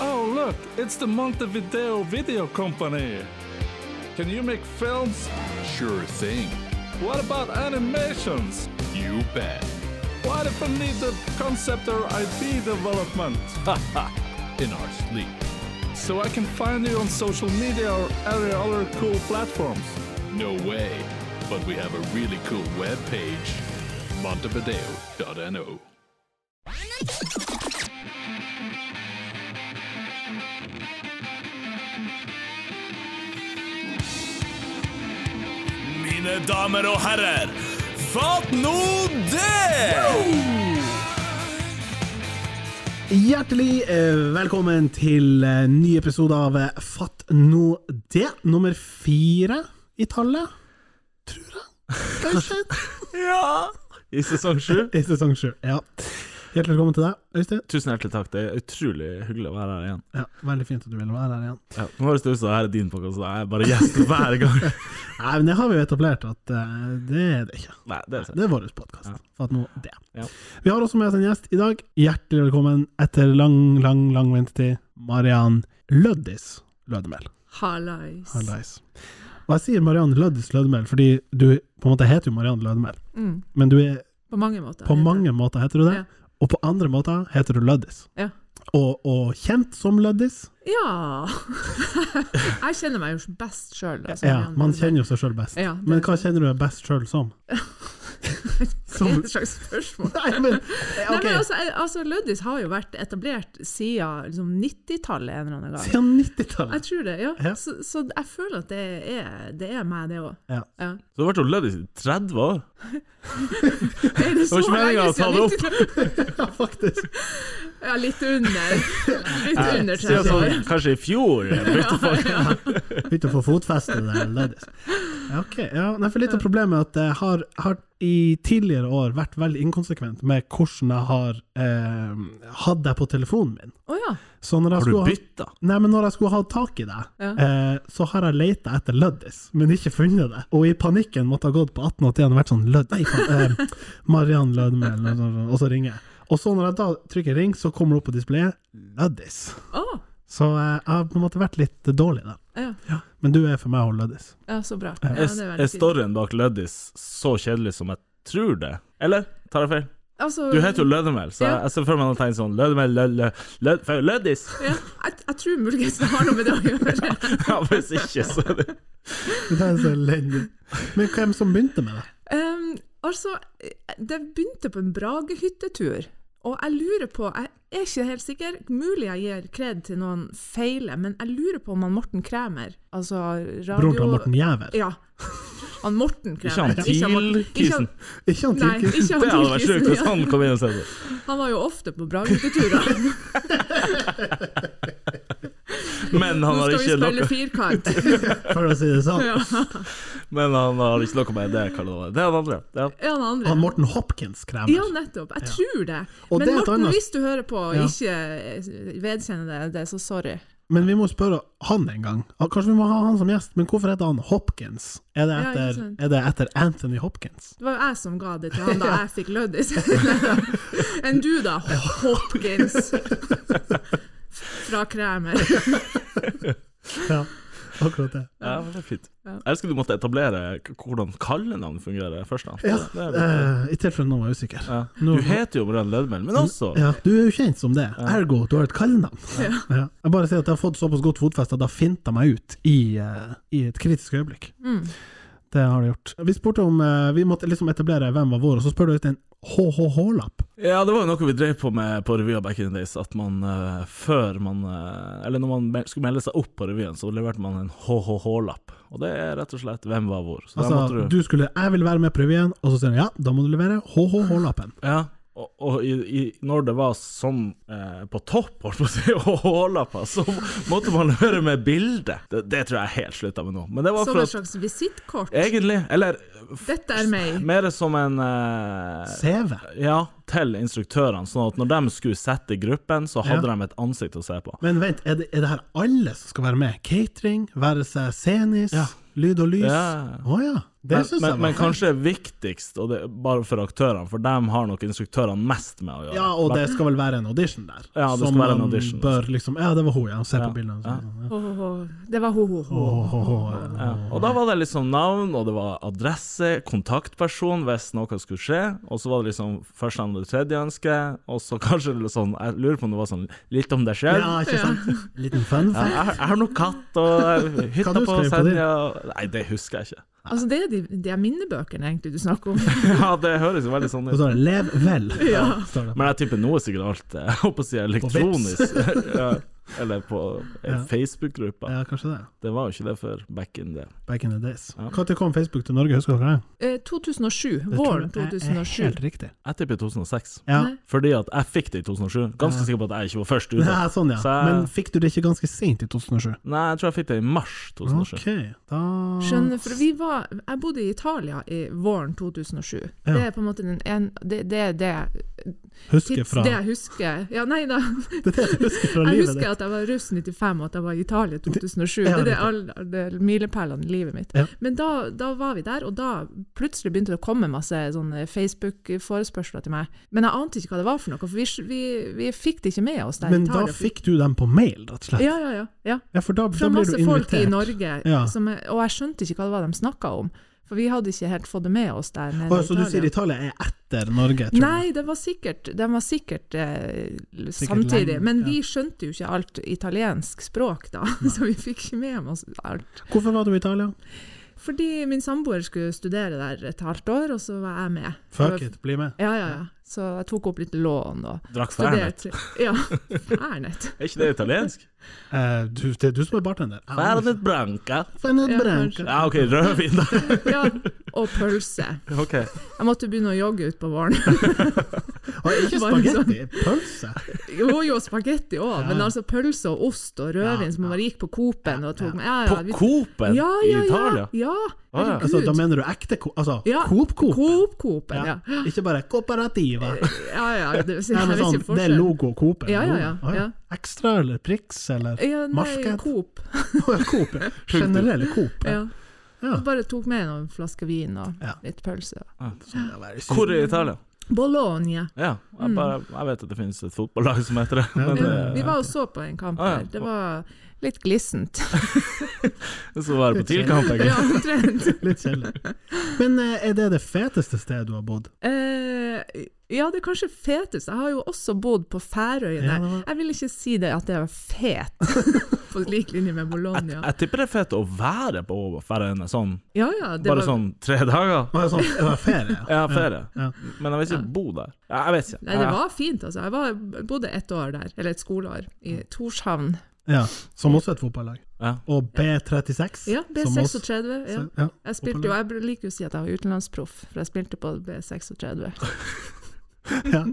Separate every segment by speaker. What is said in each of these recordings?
Speaker 1: Oh, Look, it's the Montevideo Video Company. Can you make films?
Speaker 2: Sure thing.
Speaker 1: What about animations?
Speaker 2: You bet.
Speaker 1: What if I need the concept or IP development?
Speaker 2: In our sleep.
Speaker 1: So I can find you on social media or any other cool platforms.
Speaker 2: No way. But we have a really cool web page. Montevideo.no.
Speaker 3: Mine damer og herrer, fatt nå det!
Speaker 4: Hjertelig eh, velkommen til eh, ny episode av eh, Fatt nå det, nummer fire i tallet. Tror jeg. Kanskje.
Speaker 5: Ja! I sesong sju.
Speaker 4: I sesong sju. Ja. Hjertelig velkommen til deg, Øystein.
Speaker 5: Tusen hjertelig takk, det er utrolig hyggelig å være her igjen.
Speaker 4: Ja, veldig fint at du ville være her igjen.
Speaker 5: Ja. Nå høres det ut som det her er din podkast, og jeg er bare gjest hver gang.
Speaker 4: Nei, men det har vi jo etablert at eh, det er det ikke.
Speaker 5: Nei, det er sant.
Speaker 4: Det er vår podkast.
Speaker 5: Ja.
Speaker 4: Fatt nå det.
Speaker 5: Ja.
Speaker 4: Vi har også med oss en gjest i dag. Hjertelig velkommen etter lang, lang, lang ventetid. Mariann Løddis Lødemel.
Speaker 6: Hallais.
Speaker 4: Hallais. Og jeg sier Mariann Løddis Lødemel fordi du på en måte heter jo Mariann Lødemel,
Speaker 6: Mm,
Speaker 4: men du er
Speaker 6: på mange måter.
Speaker 4: på
Speaker 6: heter
Speaker 4: mange
Speaker 6: det.
Speaker 4: måter heter du det,
Speaker 6: Ja.
Speaker 4: og på andre måter heter du Løddis.
Speaker 6: Ja.
Speaker 4: Og, og kjent som Løddis.
Speaker 6: Ja! jeg kjenner meg jo best sjøl.
Speaker 4: Ja, man kjenner jo seg sjøl best.
Speaker 6: Ja, det-
Speaker 4: Men hva kjenner du deg best sjøl som?
Speaker 6: som Et slags spørsmål.
Speaker 4: Nei, men,
Speaker 6: Nei,
Speaker 4: ok.
Speaker 6: men altså, jeg- altså Løddis har jo vært etablert siden liksom, 90-tallet en eller annen gang.
Speaker 4: Siden
Speaker 6: Jeg
Speaker 4: 90-tallet.
Speaker 6: tror det, ja.
Speaker 4: Ja.
Speaker 6: Så, så jeg føler at det er, det er meg, det òg.
Speaker 4: Ja.
Speaker 5: Så du har vært og levd i 30 år?
Speaker 6: Er det
Speaker 5: var ikke meningen å ta det opp.
Speaker 6: 90-tallet?
Speaker 4: Ja, faktisk.
Speaker 6: Ja, litt under. Litt under
Speaker 5: Siden
Speaker 6: 30 år.
Speaker 5: sånn, kanskje i fjor? Begynte folk
Speaker 4: Begynte å få fotfeste der, Løddis. Ja, ok. Ja, nei, for litt av problemet er at jeg har, har i tidligere år vært veldig inkonsekvent med hvordan jeg har eh, hatt deg på telefonen min.
Speaker 6: Å ja.
Speaker 4: Så når jeg
Speaker 5: Har du
Speaker 4: skulle ha-
Speaker 5: bytta?
Speaker 4: Nei, men når jeg skulle ha tak i deg,
Speaker 6: Ja.
Speaker 4: eh, så har jeg leita etter Løddis, men ikke funnet det. Og i panikken måtte jeg ha gått på 1881 og vært sånn Lødd... Nei, faen. Eh, Mariann Lødmel, eller noe sånt, og så ringer jeg. Og så når jeg da trykker ring, så kommer det opp på displayet Løddis.
Speaker 6: Å,
Speaker 4: Så eh, jeg har på en måte vært litt dårlig der.
Speaker 6: ja.
Speaker 4: Men du er for meg og Løddis.
Speaker 6: ja, så bra. Ja,
Speaker 5: Er,
Speaker 6: det er
Speaker 5: er
Speaker 6: veldig fint.
Speaker 5: storyen bak Løddis så kjedelig som jeg tror det? Eller tar jeg feil?
Speaker 6: Altså,
Speaker 5: Du heter jo Lødemel, så jeg,
Speaker 6: Ja.
Speaker 5: jeg ser for meg noen tegn sånn Lødemel, Lødle, Lød... for Løddis!
Speaker 6: Ja, jeg, jeg tror muligens det har noe med det å gjøre.
Speaker 5: Ja, hvis ikke, så er det
Speaker 4: Det er så elendig. Men hvem som begynte med det?
Speaker 6: Ehm, altså, det begynte på en Brage-hyttetur, og jeg lurer på Jeg er ikke helt sikker, mulig jeg gir kred til noen feile, men jeg lurer på om han Morten Kræmer, altså radio...
Speaker 4: Broren til Morten Jæver?
Speaker 6: Ja. Han Morten
Speaker 5: Ikke han
Speaker 6: Kræmer. Morten- ikke han-
Speaker 5: TIL-kisen.
Speaker 4: Ikke han
Speaker 6: Nei,
Speaker 4: Tyrkis?
Speaker 6: ikke han
Speaker 5: Det hadde vært sjukt
Speaker 6: Tilkisen.
Speaker 5: hvis han kom inn og sa det.
Speaker 6: Han var jo ofte på Brage-hytteturer.
Speaker 5: Men han
Speaker 6: Nå
Speaker 5: har
Speaker 6: skal vi
Speaker 5: ikke
Speaker 6: spille
Speaker 5: noe
Speaker 6: firkant.
Speaker 4: For å si det sånn.
Speaker 6: Ja,
Speaker 5: Men han har ikke noe med det, Karl Olav. Det er han andre. Ja.
Speaker 6: Ja, han andre.
Speaker 4: Han Morten Hopkins krever.
Speaker 6: Ja, nettopp. Jeg tror det.
Speaker 4: Og
Speaker 6: Men
Speaker 4: det er et
Speaker 6: Morten,
Speaker 4: annet-
Speaker 6: hvis du hører på og
Speaker 4: Ja.
Speaker 6: ikke eh, vedkjenner deg det, så sorry.
Speaker 4: Men vi må spørre han en gang. Ah, Kanskje vi må ha han som gjest, men hvorfor heter han Hopkins? Er det
Speaker 6: Ja, ikke
Speaker 4: etter,
Speaker 6: sant.
Speaker 4: er det etter Anthony Hopkins?
Speaker 6: Det var jo jeg som ga det til han da jeg fikk løddis. Enn du da, Hopkins. Fra Kræmer.
Speaker 4: Ja, akkurat det.
Speaker 5: Ja, men det er fint.
Speaker 6: Ja.
Speaker 5: Jeg elsker du måtte etablere k- hvordan kallenavn fungerer først. da.
Speaker 4: Ja,
Speaker 5: Det er litt-
Speaker 4: eh, I tilfelle noen var usikker.
Speaker 5: ja.
Speaker 4: nå-
Speaker 5: Du heter jo Marianne Lødemel, men også
Speaker 4: Ja, du er jo kjent som det, ergo du har et kallenavn. Ja. Jeg bare sier at jeg har fått såpass godt fotfeste at jeg finta meg ut i, eh, i et kritisk øyeblikk.
Speaker 6: Mm.
Speaker 4: Det har det gjort. Vi spurte om eh, Vi måtte liksom etablere hvem var vår, og så spør du ut en HHH-lapp.
Speaker 5: Ja, det var jo noe vi drev på med på revyer back in the days, at man eh, før man eh, Eller når man mel- skulle melde seg opp på revyen, så leverte man en HHH-lapp. Og det er rett og slett hvem var hvor. Så da
Speaker 4: Altså,
Speaker 5: måtte du
Speaker 4: du skulle 'Jeg vil være med på revyen', og så sier du ja, da må du levere HHH-lappen.
Speaker 5: Ja. Og, og i, i, når det var sånn eh, på topp, holdt på å si, HHH-lapper, så måtte man levere med bilde. Det, det tror jeg er helt slutta med nå. Men det var
Speaker 6: Som
Speaker 5: for
Speaker 6: et
Speaker 5: at
Speaker 6: slags visittkort.
Speaker 5: Egentlig. Eller
Speaker 6: Dette er meg.
Speaker 5: Mer som en eh,
Speaker 4: CV.
Speaker 5: Ja, til instruktørene. Sånn at når de skulle sette gruppen, så hadde de et ansikt å se på.
Speaker 4: Men vent, er det, er det her alle som skal være med? Catering, være seg scenis,
Speaker 5: Ja.
Speaker 4: lyd og lys? Å
Speaker 5: Ja.
Speaker 4: ja. Det
Speaker 5: Men,
Speaker 4: syns jeg
Speaker 5: men,
Speaker 4: var
Speaker 5: men kanskje det viktigst, og det er bare for aktørene, for dem har nok instruktørene mest med å gjøre.
Speaker 4: Ja, og det skal vel være en audition der.
Speaker 5: Ja, det skal
Speaker 4: Som
Speaker 5: være en
Speaker 4: man
Speaker 5: audition.
Speaker 4: Bør liksom, ja, det var hun, ja. Se
Speaker 5: Ja,
Speaker 4: på bildene.
Speaker 5: ja.
Speaker 4: sånn,
Speaker 6: Åh, åh, åh. Det var ho-ho-ho.
Speaker 4: Åh, åh, åh,
Speaker 5: Ja,
Speaker 4: ja.
Speaker 5: og da var det liksom navn, og det var adresse, kontaktperson hvis noe skulle skje, og så var det liksom første, andre, tredje ønske, og så kanskje det var sånn, jeg lurer på om det var sånn litt om deg selv.
Speaker 4: Ja, ikke sant? Liten fun
Speaker 5: Ja,
Speaker 4: fact.
Speaker 5: jeg, jeg har noe katt, og hytta
Speaker 4: Kan du
Speaker 5: på
Speaker 4: skrive på det?
Speaker 5: Senja og- Nei, det husker jeg ikke.
Speaker 6: Altså, det er de, de er minnebøkene egentlig du snakker om.
Speaker 5: Ja, det høres jo veldig sånn
Speaker 4: Og
Speaker 5: ut.
Speaker 4: så er det 'lev vel'. Står det.
Speaker 5: Men jeg tipper nå er sikkert alt eh, jeg holdt på å si elektronisk. ja, eller på eh,
Speaker 4: Ja.
Speaker 5: Facebook-gruppa.
Speaker 4: Ja, kanskje det.
Speaker 5: Det var jo ikke det før back in the
Speaker 4: Back in the days.
Speaker 5: Ja.
Speaker 4: Når kom Facebook til Norge, husker dere det?
Speaker 6: Eh, 2007.
Speaker 4: Det? tror
Speaker 6: Våren
Speaker 4: jeg er
Speaker 6: 2007.
Speaker 4: Helt riktig.
Speaker 5: Jeg tipper 2006.
Speaker 4: Ja.
Speaker 6: Nei.
Speaker 5: Fordi at jeg fikk det i 2007. Ganske sikker på at jeg ikke var først ute.
Speaker 4: Ja, sånn, ja.
Speaker 5: Så jeg-
Speaker 4: Men fikk du det ikke ganske sent i 2007?
Speaker 5: Nei, jeg tror jeg fikk det i mars 2007.
Speaker 4: Ok, da
Speaker 6: Skjønner, for vi var, jeg bodde i Italia i våren 2007.
Speaker 4: Ja.
Speaker 6: Det er på en måte den en, det, det er det,
Speaker 4: Husker
Speaker 6: tids,
Speaker 4: fra
Speaker 6: det jeg husker. Ja, nei da.
Speaker 4: Det er det du husker fra
Speaker 6: Jeg
Speaker 4: livet
Speaker 6: husker
Speaker 4: ditt.
Speaker 6: at jeg var russ 95, og at jeg var i Italia
Speaker 4: Ja,
Speaker 6: 2007. Det er det
Speaker 4: riktig.
Speaker 6: alle alle milepælene i livet mitt.
Speaker 4: Ja.
Speaker 6: Men da, da var vi der, og da plutselig begynte det å komme masse sånne Facebook-forespørsler til meg. Men jeg ante ikke hva det var for noe, for vi, vi, vi fikk det ikke med oss der
Speaker 4: Men
Speaker 6: i
Speaker 4: da
Speaker 6: Italia.
Speaker 4: fikk du dem på mail, rett og slett?
Speaker 6: ja, ja, ja, ja.
Speaker 4: Ja, for da,
Speaker 6: Fra
Speaker 4: da blir du
Speaker 6: masse folk
Speaker 4: invitert.
Speaker 6: i Norge,
Speaker 4: Ja.
Speaker 6: som er, og jeg skjønte ikke hva det var de snakka om. For vi hadde ikke helt fått det med oss der nede
Speaker 4: Å, så du sier Italia er etter Norge? Tror
Speaker 6: Nei, den var sikkert, den var sikkert, eh, samtidig.
Speaker 4: lenge,
Speaker 6: Men
Speaker 4: ja.
Speaker 6: vi skjønte jo ikke alt italiensk språk, da. Så vi fikk ikke med oss alt.
Speaker 4: du. Hvorfor var du i Italia?
Speaker 6: Fordi min samboer skulle studere der et halvt år, og så var jeg med.
Speaker 4: Fuck it, bli med.
Speaker 6: Ja, ja, ja. Så jeg tok opp litt lån og
Speaker 5: Drakk Fernet.
Speaker 6: studerte. Ja, Fernet.
Speaker 5: Er ikke det italiensk?
Speaker 4: Eh, du, det er du som er bartender. Jeg aner ikke.
Speaker 5: Fernet Branca.
Speaker 4: Fernet
Speaker 6: Ja,
Speaker 4: Branca.
Speaker 6: kanskje.
Speaker 5: Ja, OK, rødvin, da.
Speaker 6: Ja, og pølse.
Speaker 5: Ok.
Speaker 6: Jeg måtte begynne å jogge utpå våren.
Speaker 4: Å, ikke
Speaker 6: Bare sånn.
Speaker 4: spagetti, pølse.
Speaker 6: Jo, jo, spagetti òg, men altså pølse og ost og rødvin
Speaker 4: Ja,
Speaker 6: som man bare gikk på Coop-en og tok med. Ja, ja,
Speaker 5: På
Speaker 6: vi-
Speaker 5: Coop-en
Speaker 6: ja,
Speaker 5: i
Speaker 6: ja, ja,
Speaker 5: Italia?
Speaker 6: Ja,
Speaker 5: ja.
Speaker 6: herregud.
Speaker 4: Altså, da mener du ekte ko... Altså,
Speaker 6: Ja,
Speaker 4: Coop-Coop.
Speaker 6: Coop-Coop-en, ja.
Speaker 4: Ja. Ikke bare Cooperativa.
Speaker 6: Ja, ja, det, jeg
Speaker 4: Ja, men
Speaker 6: vet
Speaker 4: sånn, det
Speaker 6: ikke
Speaker 4: er
Speaker 6: forskjell.
Speaker 4: logo Coop.
Speaker 6: Ja, ja, ja,
Speaker 4: Å,
Speaker 6: ja.
Speaker 4: Ekstra eller Prix eller
Speaker 6: Ja, nei,
Speaker 4: Marked?
Speaker 6: Coop.
Speaker 4: Å, ja, Coop. ja. Generelle Coop.
Speaker 6: Ja.
Speaker 4: Ja.
Speaker 6: Bare tok med noen flasker vin og
Speaker 4: Ja.
Speaker 6: litt pølse.
Speaker 4: Sånn, det var sykt.
Speaker 5: Hvor i Italia?
Speaker 6: Bologna.
Speaker 5: Ja,
Speaker 6: Mm.
Speaker 5: jeg, bare, jeg vet at det finnes et fotballag som heter det.
Speaker 4: Ja,
Speaker 5: Men
Speaker 4: det-
Speaker 6: Vi var og så på en kamp
Speaker 5: Ah, ja.
Speaker 6: der. Det var litt glissent.
Speaker 5: det skal være på TIL-kamp, egentlig.
Speaker 6: Ja, omtrent.
Speaker 4: Litt kjedelig. Men eh, er det det feteste stedet du har bodd?
Speaker 6: Eh, ja, det er kanskje fetest. Jeg har jo også bodd på Færøyene.
Speaker 4: Ja, det var-
Speaker 6: Jeg vil ikke si det at det var fet, på lik linje med
Speaker 5: Jeg,
Speaker 6: Bologna.
Speaker 5: jeg tipper det er fett å være på Færøyene sånn,
Speaker 6: Ja, ja, det
Speaker 5: bare
Speaker 6: var,
Speaker 5: sånn tre dager.
Speaker 4: Var det sånn, det var ferie? ja.
Speaker 5: Ja, ferie.
Speaker 4: Ja.
Speaker 5: Men jeg vil ikke bo der. Ja, Jeg vet ikke.
Speaker 6: Nei, det var fint, altså. Jeg var, bodde ett år der, eller et skoleår, i Torshavn.
Speaker 4: ja. Som også et fotballag.
Speaker 5: Ja.
Speaker 4: Og B36.
Speaker 6: Ja,
Speaker 4: som også-
Speaker 6: B36. Ja.
Speaker 4: så- ja.
Speaker 6: Jeg spilte jo, jeg liker jo å si at jeg var utenlandsproff, for jeg spilte på B36.
Speaker 4: ja.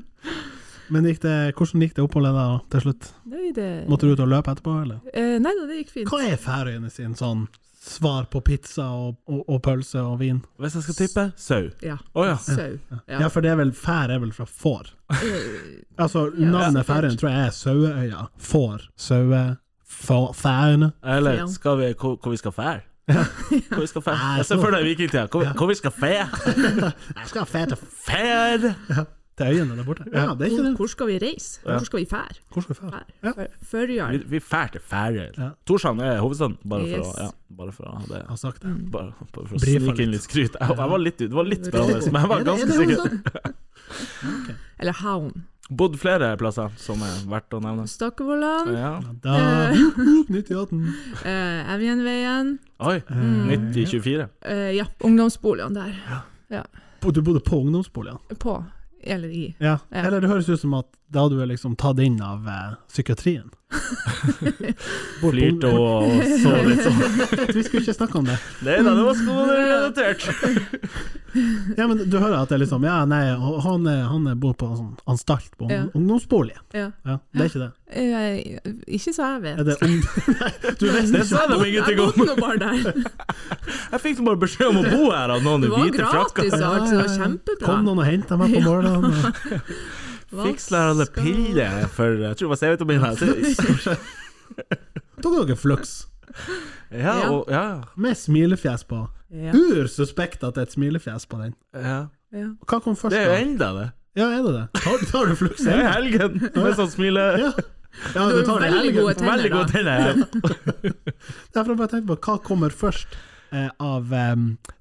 Speaker 4: Men gikk det, hvordan gikk det oppholdet da til slutt?
Speaker 6: Nei, det,
Speaker 4: Måtte du ut og løpe etterpå, eller?
Speaker 6: eh, nei da, det gikk fint.
Speaker 4: Hva er Færøyene sin sånn svar på pizza og, og, og pølse og vin?
Speaker 5: Hvis jeg skal tippe sau.
Speaker 6: Ja.
Speaker 5: Å ja.
Speaker 6: Sau.
Speaker 4: Ja,
Speaker 6: Ja.
Speaker 4: for det er vel fær er vel fra får?
Speaker 6: Eh,
Speaker 4: Altså,
Speaker 6: Ja,
Speaker 4: navnet
Speaker 6: sikkert.
Speaker 4: Færøyene tror jeg er Saueøya. Får, Saue, Fa- Færøyene.
Speaker 5: Eller
Speaker 6: Ja.
Speaker 5: skal vi, hvor, hvor vi skal fære? Hvor vi skal fære?
Speaker 4: Nei,
Speaker 5: Jeg ser for deg vikingtida. Hvor, hvor vi skal fære?
Speaker 4: Jeg skal fære til,
Speaker 5: Fære!
Speaker 4: til øyene der borte. Ja, det er ikke det.
Speaker 6: Hvor skal vi reise? Hvor skal vi fære?
Speaker 4: Hvor skal vi fære?
Speaker 6: Fær.
Speaker 4: Ja.
Speaker 6: Før- Førjarn.
Speaker 5: Vi, vi fær til Færøyene.
Speaker 4: Ja.
Speaker 5: Torshavn er hovedstaden, bare for,
Speaker 6: Yes.
Speaker 5: å, ja, bare for å ha det
Speaker 4: Jeg har sagt det.
Speaker 5: bare, bare for å
Speaker 4: Brife
Speaker 5: snike
Speaker 4: litt.
Speaker 5: inn litt skryt. Jeg, jeg var litt, det var litt bra, men jeg
Speaker 4: Er
Speaker 5: var
Speaker 4: det- er
Speaker 5: ganske
Speaker 4: det
Speaker 5: sikker.
Speaker 4: hovedstaden?
Speaker 6: sånn. Eller havn.
Speaker 5: Bodd flere plasser som er verdt å nevne.
Speaker 6: Stakkevollan.
Speaker 5: Ja.
Speaker 4: Da
Speaker 6: Eh.
Speaker 4: Nytt i åten.
Speaker 6: Eh, Evjenveien.
Speaker 5: Oi,
Speaker 4: Mm.
Speaker 5: 9024.
Speaker 6: Eh, ja, ungdomsboligene der.
Speaker 4: Du bodde på ungdomsboligen?
Speaker 6: På. Eller i.
Speaker 4: Ja.
Speaker 6: Ja.
Speaker 4: Eller det høres ut som at da du er liksom tatt inn av eh, psykiatrien. Bort på-
Speaker 5: Flirte og, og så litt sånn.
Speaker 4: Vi skulle ikke snakke om det.
Speaker 5: Nei da, det var skolerelatert.
Speaker 4: Ja, men Du hører at det er liksom Ja, nei, han, er, han er bor på en sånn anstalt på
Speaker 6: Ja.
Speaker 4: ung- ungdomsbolig.
Speaker 6: Ja.
Speaker 4: Ja, det er ikke det.
Speaker 6: Eh, ikke så jeg
Speaker 4: Er
Speaker 6: vet.
Speaker 4: det ung... Du vet
Speaker 5: Det
Speaker 4: ikke.
Speaker 5: sa de
Speaker 6: Jeg
Speaker 5: ingenting om.
Speaker 6: bodde nå bare der.
Speaker 5: Jeg fikk bare beskjed om å bo her av noen
Speaker 6: Det
Speaker 5: i
Speaker 6: var
Speaker 5: hvite frakker.
Speaker 6: gratis og alt, så det var kjempebra.
Speaker 4: Kom noen og henta meg på morgenen. og-
Speaker 6: Hva
Speaker 5: Fiksler alle
Speaker 6: skal-
Speaker 5: piller for Jeg tror det var C-vitamin her.
Speaker 4: Tok dere flux?
Speaker 5: Ja,
Speaker 6: Ja.
Speaker 5: og, ja,
Speaker 4: Med smilefjes på.
Speaker 6: Ja.
Speaker 4: Ur suspekt at det er et smilefjes på den.
Speaker 5: ja.
Speaker 6: Ja.
Speaker 4: Hva kom først,
Speaker 5: Det er jo
Speaker 4: da?
Speaker 5: enda det.
Speaker 4: Ja, er det det? Tar, tar du flux
Speaker 5: Det er
Speaker 4: ennå?
Speaker 5: helgen med sånn smile.
Speaker 4: Ja. ja,
Speaker 6: Du
Speaker 4: du tar
Speaker 6: har
Speaker 4: det i
Speaker 6: veldig
Speaker 4: helgen.
Speaker 6: gode tenner,
Speaker 5: Veldig god
Speaker 6: da.
Speaker 5: tenner. ja.
Speaker 4: Derfor har jeg bare tenkt på hva kommer først eh, av eh,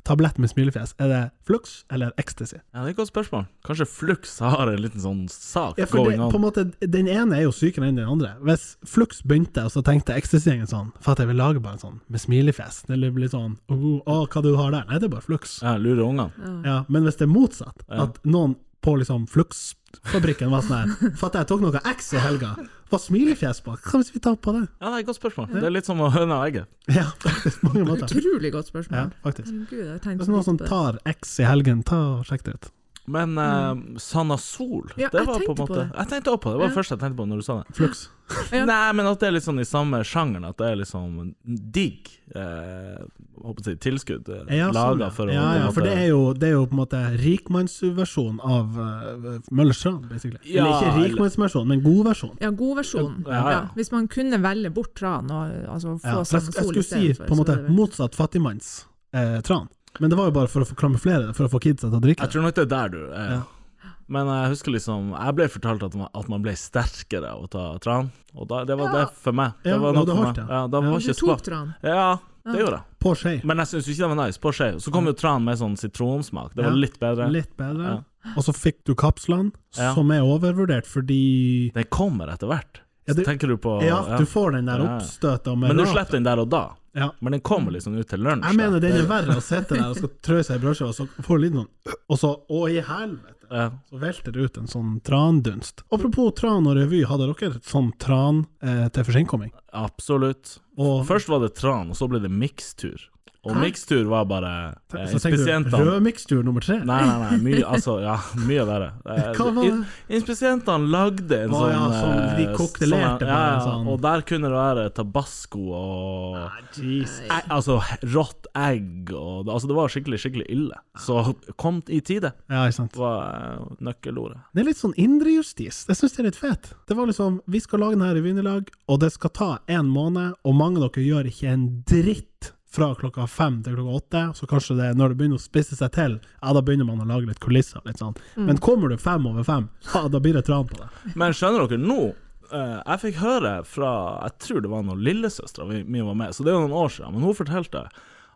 Speaker 4: tablett med smilefjes. Er det flux eller ecstasy?
Speaker 5: Ja, det er et godt spørsmål. Kanskje Flux har en liten sånn sak
Speaker 4: Ja, for det,
Speaker 5: going
Speaker 4: på en
Speaker 5: on.
Speaker 4: måte, den ene er jo sykere enn den andre. Hvis flux begynte, og så tenkte ecstasy-gjengen sånn For at jeg vil lage bare en sånn med smilefjes. Det blir sånn Å, hva du har der? Nei, det er bare flux.
Speaker 5: Ja, lurer ungene.
Speaker 4: Ja, men hvis det er motsatt, at noen på liksom Flux-fabrikken var sånn her For at jeg tok noe X i helga, var smilefjes på. Hva hvis vi tar på det?
Speaker 5: Ja, det er et godt spørgsmål. Det er litt som å høne og egget.
Speaker 4: Ja, faktisk. Mange måter.
Speaker 6: Utrolig godt
Speaker 4: Ja,
Speaker 6: spørsmål.
Speaker 4: faktisk.
Speaker 6: Herregud, jeg har tenkt
Speaker 4: Hvis noen som
Speaker 5: sånn
Speaker 6: litt på
Speaker 4: tar
Speaker 6: det.
Speaker 4: X i helgen, ta og sjekk det ut.
Speaker 5: Men
Speaker 4: Mm.
Speaker 5: eh, Sanasol,
Speaker 6: Ja,
Speaker 5: det
Speaker 6: jeg
Speaker 5: var på en
Speaker 6: tenkte på
Speaker 5: måte
Speaker 6: det.
Speaker 5: Jeg tenkte også på det. Det var det
Speaker 6: Ja.
Speaker 5: første jeg tenkte på når du sa det.
Speaker 4: Flux.
Speaker 6: Ja.
Speaker 5: Nei, men at det er litt sånn i samme sjangeren. At det er liksom digg eh, håper jeg å si, tilskudd eh,
Speaker 4: Ja, sånn,
Speaker 5: laga for å
Speaker 4: ja, ja,
Speaker 5: på en
Speaker 4: for det
Speaker 5: måte-
Speaker 4: er, jo, det er jo på en måte rikmannsversjon av uh, Møllers tran, basically.
Speaker 5: Ja,
Speaker 4: eller ikke
Speaker 5: eller-
Speaker 4: rikmannsversjon, men god versjon.
Speaker 6: Ja, god versjon.
Speaker 5: Ja, ja.
Speaker 6: Ja, hvis man kunne velge bort tran og altså, få
Speaker 4: Ja, for jeg,
Speaker 6: sånn
Speaker 4: jeg
Speaker 6: sol
Speaker 4: skulle si
Speaker 6: istedenfor,
Speaker 4: på en
Speaker 6: så
Speaker 4: måte
Speaker 6: det er vel-
Speaker 4: motsatt fattigmanns eh, tran, men det var jo bare for å få klamuflere det, for å få kidsa til å drikke
Speaker 5: Jeg
Speaker 4: det.
Speaker 5: tror nok det er der du er. Men jeg husker liksom Jeg ble fortalt at man, at man ble sterkere av å ta tran, og da, det var det for meg. Det
Speaker 4: Ja,
Speaker 5: var
Speaker 4: og
Speaker 5: nok
Speaker 4: det
Speaker 5: for
Speaker 4: holdt,
Speaker 5: meg.
Speaker 4: ja.
Speaker 5: Ja, da
Speaker 4: Ja.
Speaker 5: var
Speaker 6: Du
Speaker 5: ikke
Speaker 6: tok
Speaker 5: spa-
Speaker 6: tran?
Speaker 5: Ja, det gjorde jeg.
Speaker 4: På skje.
Speaker 5: Men jeg syns ikke det var nice. På skje. Så kom jo tran med sånn sitronsmak. Det var
Speaker 4: Ja,
Speaker 5: litt bedre.
Speaker 4: Litt bedre. Og så fikk du kapslene,
Speaker 5: Ja.
Speaker 4: som er overvurdert fordi
Speaker 5: Den kommer etter hvert.
Speaker 4: Ja,
Speaker 5: Så
Speaker 4: det-
Speaker 5: tenker du på
Speaker 4: Ja, du får den der
Speaker 5: Ja.
Speaker 4: oppstøta med
Speaker 5: Men du
Speaker 4: rap.
Speaker 5: slipper den der og da.
Speaker 4: Ja.
Speaker 5: Men den kommer liksom ut til lunsj.
Speaker 4: Jeg
Speaker 5: da.
Speaker 4: mener den er verre å sitte der og skal trø seg i brødskiva, og så får du litt sånn Og så Å, i helvete!
Speaker 5: Ja.
Speaker 4: Så velter det ut en sånn trandunst. Apropos tran og revy, hadde dere et sånn tran eh, til forsinnkomming?
Speaker 5: Absolutt.
Speaker 4: Og
Speaker 5: Først var det tran, og så ble det mikstur. Og mikstur var bare eh,
Speaker 4: så tenker du
Speaker 5: Inspisientene
Speaker 4: rødmikstur nummer tre?
Speaker 5: Nei, nei, nei. Mye, altså, ja, mye verre. Eh,
Speaker 4: Hva var det?
Speaker 5: in- Inspisientene lagde en
Speaker 4: Å,
Speaker 5: sånn
Speaker 4: ja, sånn de
Speaker 5: eh,
Speaker 4: kokte lerte
Speaker 5: ja,
Speaker 4: bare,
Speaker 5: ja,
Speaker 4: sånn.
Speaker 5: Og der kunne det være tabasco og
Speaker 4: Ah, Jesus.
Speaker 5: e Altså rått egg og det- Altså, det var skikkelig, skikkelig ille. Så kom i tide,
Speaker 4: Ja, ikke sant.
Speaker 5: var eh, nøkkelordet.
Speaker 4: Det er litt sånn indrejustis. Jeg syns det er litt fett. Det var liksom Vi skal lage denne revyen i lag, og det skal ta en måned, og mange av dere gjør ikke en dritt fra klokka fem til klokka åtte, så kanskje det når det begynner å spisse seg til, ja, da begynner man å lage litt kulisser, litt sånn.
Speaker 6: Mm.
Speaker 4: Men kommer du fem over fem, ja, da blir det tran på deg.
Speaker 5: Men skjønner dere, nå eh, Jeg fikk høre fra Jeg tror det var når lillesøstera mi var med, så det er jo noen år siden, men hun fortalte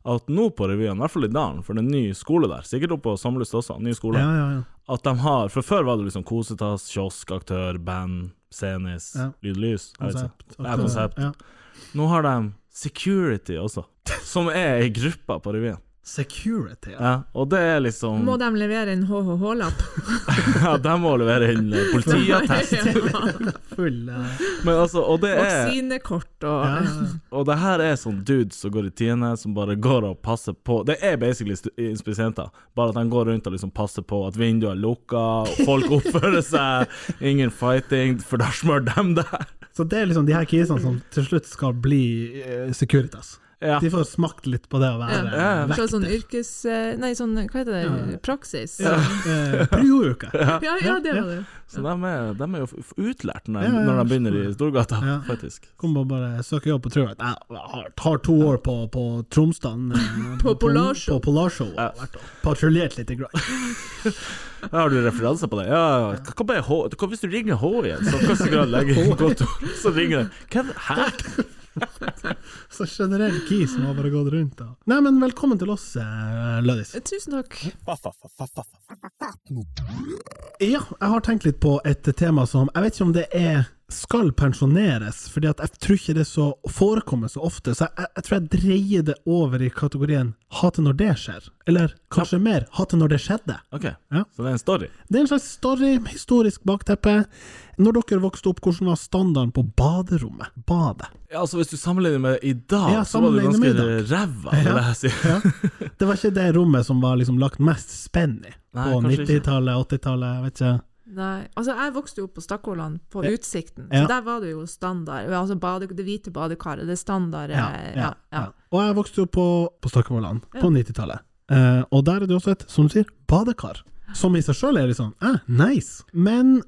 Speaker 5: at nå på revyen, i hvert fall i Dalen, for det er en ny skole der, sikkert oppe på Samlust også, en ny skole,
Speaker 4: Ja, ja, ja.
Speaker 5: at de har For før var det liksom kosetass, kiosk, aktør, band, scenis,
Speaker 4: Ja. Altså.
Speaker 5: lydlys. jeg vet ikke.
Speaker 4: Konsept.
Speaker 5: Ja, konsept.
Speaker 4: Ja.
Speaker 5: Nå har de security også, som er ei gruppe på revyen.
Speaker 4: Security. Ja.
Speaker 5: Ja, og det er liksom
Speaker 6: Må de levere en HHH-lapp?
Speaker 5: ja, De må levere inn eh, politiattest.
Speaker 4: Full eh,
Speaker 5: Men altså, og det er
Speaker 6: Vaksinekort og
Speaker 4: ja, ja.
Speaker 5: Og det her er sånn dudes som går i tiende, som bare går og passer på Det er basically stu- inspisenter, bare at de går rundt og liksom passer på at vinduet er lukka, og folk oppfører seg, ingen fighting, for da smører dem der.
Speaker 4: Så det er liksom de her kisene som til slutt skal bli eh, Securitas.
Speaker 5: Ja.
Speaker 4: De får smakt litt på det å være
Speaker 6: Ja.
Speaker 5: Ja, ja.
Speaker 6: Fra sånn yrkes... eh, Nei, sånn, hva heter det? Praksis? Ja,
Speaker 4: eh, Prio-uke.
Speaker 6: ja, det var det.
Speaker 5: Så de er, de er jo f- utlært når
Speaker 4: Ja,
Speaker 5: de,
Speaker 4: ja,
Speaker 5: når de
Speaker 4: jeg
Speaker 5: begynner i
Speaker 4: forstår.
Speaker 5: Storgata,
Speaker 4: Ja.
Speaker 5: faktisk.
Speaker 4: Kommer og bare søker jobb og tror at jeg har, har to år på, på Tromsdalen. eh,
Speaker 6: På Polarshow.
Speaker 4: På Polarshow. og vært og Patruljert litt. i grann.
Speaker 5: Ja, Har du referanser på det? Ja, ja, ja. Hva, hva, er H- hva hvis du ringer H igjen, så hva skal jeg legge godt ord, så ringer de Hva er det her?
Speaker 4: Så generell kis som har bare gått rundt. Da. Nei, men velkommen til oss, eh, Lødis.
Speaker 6: Tusen takk.
Speaker 4: Ja, jeg har tenkt litt på et tema som Jeg vet ikke om det er skal pensjoneres, fordi at jeg tror ikke det så forekommer så ofte. Så jeg, jeg tror jeg dreier det over i kategorien hate når det skjer, eller kanskje mer hate når det skjedde.
Speaker 5: OK,
Speaker 4: Ja.
Speaker 5: så det er en story.
Speaker 4: Det er en slags story, historisk bakteppe. Når dere vokste opp, hvordan var standarden på baderommet? Badet.
Speaker 5: Ja, altså Hvis du sammenligner med i dag,
Speaker 4: Ja,
Speaker 5: så var du
Speaker 4: sammenligner
Speaker 5: ganske
Speaker 4: med i
Speaker 5: ræva. vil jeg si.
Speaker 4: Ja. Det var ikke det rommet som var liksom lagt mest spenn i
Speaker 5: Nei,
Speaker 4: på
Speaker 5: kanskje ikke.
Speaker 4: 90-tallet, 80-tallet, jeg vet ikke.
Speaker 6: Nei, altså jeg vokste jo opp på Stakkoland, på Utsikten.
Speaker 4: Ja.
Speaker 6: Så der var det jo standard. Altså bade, det hvite badekaret, det standard
Speaker 4: Ja,
Speaker 6: eh,
Speaker 4: ja,
Speaker 6: ja.
Speaker 4: ja. Og jeg vokste jo på, på Stakkevollan på 90-tallet. Eh, og der er det også et, som du sier, badekar. Som i seg sjøl er litt sånn eh, nice. Men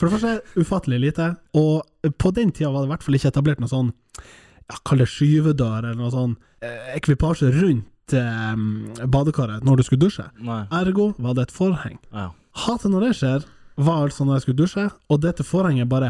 Speaker 4: for det første ufattelig lite. Og på den tida var det i hvert fall ikke etablert noe sånn ja, kall det skyvedør, eller noe sånn eh, ekvipasje rundt eh, badekaret når du skulle dusje.
Speaker 5: Nei.
Speaker 4: Ergo var det et forheng.
Speaker 5: Ja.
Speaker 4: Hatet når det skjer, var altså når jeg skulle dusje, og dette forhenget bare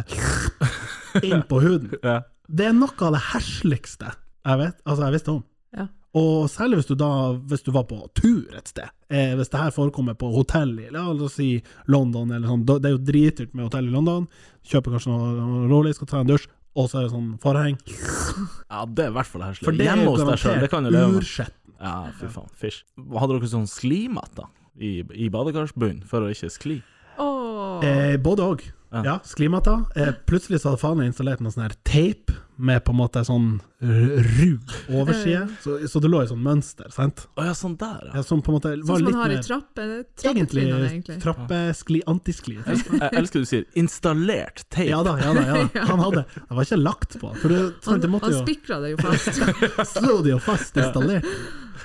Speaker 4: inn på huden.
Speaker 5: Ja.
Speaker 4: Det er noe av det hersligste jeg vet, altså jeg visste om.
Speaker 6: Ja.
Speaker 4: Og særlig hvis du da hvis du var på tur et sted. Eh, hvis det her forekommer på hotell i la oss si London, eller sånn, da- det er jo dritdyrt med hotell i London. Kjøper kanskje noe noe rolig, skal ta en dusj, og så er det sånn forheng.
Speaker 5: ja, det er i hvert fall
Speaker 4: For
Speaker 5: heslig.
Speaker 4: det er
Speaker 5: Hjemme hos deg sjøl, det kan
Speaker 4: garantert
Speaker 5: jo leve med.
Speaker 4: urskjett.
Speaker 5: Ja, fy faen. Fysj. Hadde dere sånn slimatt, da? I, i badekarsbunnen, for å ikke skli?
Speaker 6: Åh.
Speaker 4: Eh, både òg. Ja.
Speaker 5: Ja.
Speaker 4: sklimatta. Eh, plutselig så hadde faren min installert noe sånn her teip med på en måte sånn r- rug overside, så, så det lå i sånn mønster, sant?
Speaker 5: Å ja, sånn der, ja.
Speaker 4: Ja, som på en måte var
Speaker 6: Sånn som man
Speaker 4: litt
Speaker 6: har i
Speaker 4: mer
Speaker 6: trappe,
Speaker 4: Egentlig
Speaker 6: trappetrinene, egentlig.
Speaker 4: trappeskli, antiskli.
Speaker 5: Jeg elsker du sier 'installert teip'.
Speaker 4: Ja da, ja da. ja da. Han hadde Det var ikke lagt på, for det, sant,
Speaker 6: Han,
Speaker 4: det måtte
Speaker 6: han
Speaker 4: jo
Speaker 6: spikra det jo fast.
Speaker 4: Slo det jo fast, installert,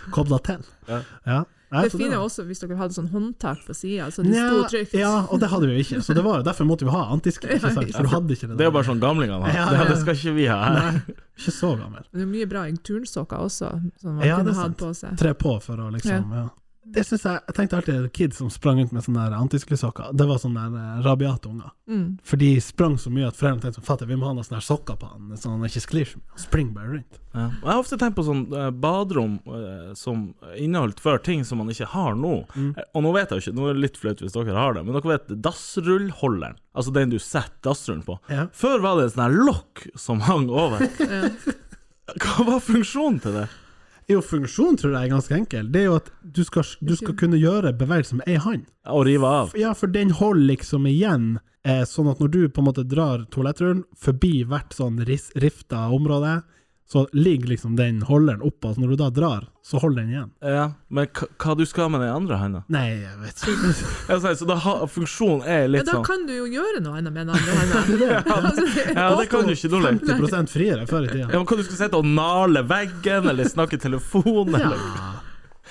Speaker 4: kobla til.
Speaker 5: Ja.
Speaker 4: Ja. Nei,
Speaker 6: Det
Speaker 4: så
Speaker 6: fine
Speaker 4: var-
Speaker 6: er også hvis dere hadde sånn håndtak på sida, så det sto
Speaker 4: Nja,
Speaker 6: trygt.
Speaker 4: Ja, og det hadde vi jo ikke, så det var jo derfor måtte vi ha antiskli. ikke sant? For du hadde ikke det
Speaker 5: Det er jo
Speaker 4: der.
Speaker 5: bare sånn gamlingene har.
Speaker 4: Ja,
Speaker 5: Det-
Speaker 4: ja.
Speaker 5: Det skal ikke vi ha her.
Speaker 4: Nei, ikke så gammel.
Speaker 6: Det er mye bra i turnsokker også, som man
Speaker 4: Ja, det
Speaker 6: kunne
Speaker 4: er sant.
Speaker 6: hatt på seg.
Speaker 4: Tre på for å liksom ja. Det synes jeg, jeg tenkte alltid at kids som sprang rundt med sånne der antisklisokker, det var sånne der eh, rabiate unger.
Speaker 6: Mm.
Speaker 4: For de sprang så mye at foreldrene tenkte sånn, fatter, vi må ha noen sånne her sokker på han, så han ikke sklir så mye. Spring bare rundt.
Speaker 5: Ja. Jeg har ofte tenkt på sånn eh, badrom eh, som inneholdt før ting som man ikke har nå.
Speaker 4: Mm.
Speaker 5: Eh, Og nå vet jeg jo ikke, nå er det litt flaut hvis dere har det, men dere vet dassrullholderen? Altså den du setter dassrullen på.
Speaker 4: Ja.
Speaker 5: Før var det en sånn her lokk som hang over. Hva var funksjonen til det?
Speaker 4: Jo, funksjonen tror jeg er ganske enkel. Det er jo at du skal, du skal kunne gjøre bevegelser med ei hand.
Speaker 5: Å rive av.
Speaker 4: Ja, for den holder liksom igjen, eh, sånn at når du på en måte drar toalettrullen forbi hvert sånn ris- rifta område, så ligger liksom den holderen oppå, så når du da drar, så holder den igjen.
Speaker 5: Ja, men hva, hva du skal med den andre handa?
Speaker 4: Nei, jeg vet ikke.
Speaker 5: Ja, så- så da har- funksjonen er
Speaker 6: Men
Speaker 5: litt
Speaker 6: da
Speaker 5: sånn
Speaker 6: kan du jo gjøre noe annet med den andre hånda. Altså, det er
Speaker 5: Ja, det kan du
Speaker 6: åpen.
Speaker 5: ikke nå lenger.
Speaker 4: 50 friere før i tida.
Speaker 5: Ja, men Hva du skal sitte og nale veggen, eller snakke i telefonen, eller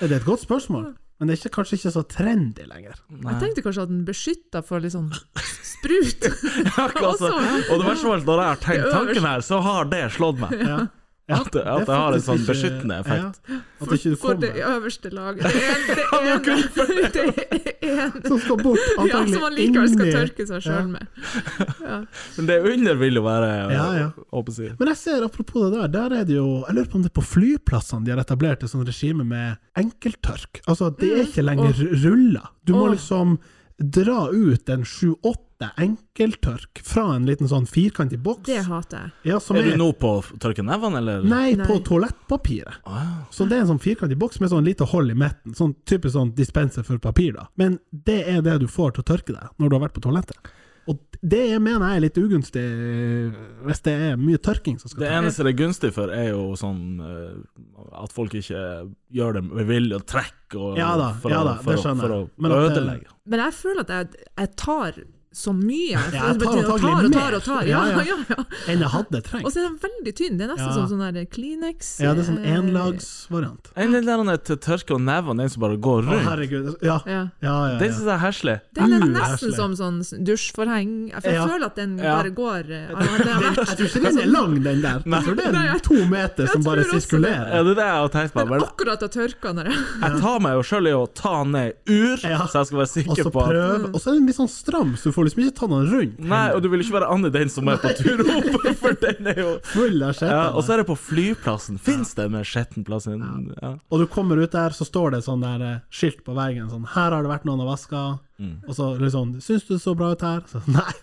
Speaker 4: Det er et godt spørsmål, men det er ikke, kanskje ikke så trendy lenger.
Speaker 6: Jeg tenkte kanskje at den beskytta for litt sånn sprut.
Speaker 5: altså,
Speaker 6: Også-
Speaker 5: Og det verste var at når jeg har tenkt
Speaker 6: Det øverste.
Speaker 5: tanken her, så har det slått meg.
Speaker 4: Ja.
Speaker 5: At det, at
Speaker 4: er
Speaker 5: det har en
Speaker 4: faktisk
Speaker 5: sånn
Speaker 4: ikke-
Speaker 5: beskyttende effekt.
Speaker 4: Ja, at det ikke
Speaker 6: For det
Speaker 4: kommer
Speaker 6: øverste laget. Det ene. Det ene. Det ene.
Speaker 4: som skal bort,
Speaker 6: Ja, som man
Speaker 4: antagelig
Speaker 6: likevel skal
Speaker 4: inni
Speaker 6: tørke seg sjøl med.
Speaker 5: Men det under vil jo være
Speaker 4: Ja, ja.
Speaker 5: håper jeg. å si.
Speaker 4: Men jeg ser, apropos det der, der er det jo Jeg lurer på om det er på flyplassene de har etablert et sånt regime med enkelttørk. Altså, det er ikke lenger ruller. Du må
Speaker 6: Mm, Åh.
Speaker 4: liksom dra ut en sju-åtte enkelttørk fra en liten sånn firkantig boks.
Speaker 6: Det hater jeg.
Speaker 4: Ja, som
Speaker 5: Er du nå på å tørke nevene, eller?
Speaker 4: Nei, på
Speaker 6: Nei.
Speaker 4: toalettpapiret. Så det er en sånn firkantig boks med sånn lite hold i midten. Sånn typisk sånn dispenser for papir, da. Men det er det du får til å tørke deg når du har vært på toalettet. Og det jeg mener jeg er litt ugunstig eh, hvis det er mye tørking som skal
Speaker 5: Det
Speaker 4: til.
Speaker 5: eneste det er gunstig for, er jo sånn eh, at folk ikke gjør det med vilje og trekk og
Speaker 4: Ja da,
Speaker 5: for,
Speaker 4: ja
Speaker 5: å-
Speaker 4: da, det
Speaker 5: for, å-
Speaker 4: skjønner
Speaker 5: for å
Speaker 4: jeg. Men at det-
Speaker 5: ødelegge.
Speaker 6: Men jeg føler at jeg, jeg tar så mye.
Speaker 4: Ja, jeg tar antagelig
Speaker 6: og tar
Speaker 4: mer.
Speaker 6: og tar. Ja,
Speaker 4: Ja, ja.
Speaker 6: ja, ja.
Speaker 4: Enn jeg hadde
Speaker 6: Og
Speaker 4: trengt.
Speaker 6: så er den veldig tynn. Det er
Speaker 4: Ja.
Speaker 6: nesten som sånn der Kleenex.
Speaker 4: Ja, det er sånn
Speaker 6: eh,
Speaker 4: enlagsvariant.
Speaker 5: Enn den der han er til tørke og nevene, den som bare går
Speaker 4: Å,
Speaker 5: rundt.
Speaker 4: herregud. Ja. Ja,
Speaker 6: Ja.
Speaker 4: ja,
Speaker 5: Den
Speaker 4: ja.
Speaker 5: syns jeg er heslig.
Speaker 6: Den er
Speaker 4: Uh,
Speaker 6: nesten
Speaker 4: heslig.
Speaker 6: som sånn dusjforheng. For jeg
Speaker 4: Ja.
Speaker 6: føler at den
Speaker 5: Ja.
Speaker 6: bare går eh, altså, det har vært- Altså,
Speaker 4: Jeg tror ikke den er lang, den der. Jeg tror det er to meter som
Speaker 6: Jeg
Speaker 4: bare
Speaker 6: tror også det.
Speaker 5: Ja,
Speaker 4: sirkulerer.
Speaker 5: det er det jeg har tenkt på.
Speaker 6: Men
Speaker 5: Men
Speaker 6: akkurat har tørka når jeg
Speaker 5: jeg tar meg jo sjøl i å ta ned ur,
Speaker 4: Ja.
Speaker 5: så jeg skal
Speaker 4: Og
Speaker 5: være
Speaker 4: så
Speaker 5: sikker på at
Speaker 4: prøve. Og så er den litt sånn stram, så du får liksom ikke ta den rundt.
Speaker 5: Nei, og du vil ikke være Anne den som er på tur opp, for den er jo
Speaker 4: Full av skjett.
Speaker 5: ja, Og så er det på flyplassen. Fins det den skjettenplassen? Ja.
Speaker 4: Og du kommer ut der, så står det sånn der eh, skilt på veggen sånn 'Her har det vært noen og vaska'.
Speaker 5: Mm.
Speaker 4: Og så liksom 'Syns du det så bra ut her?' Så nei,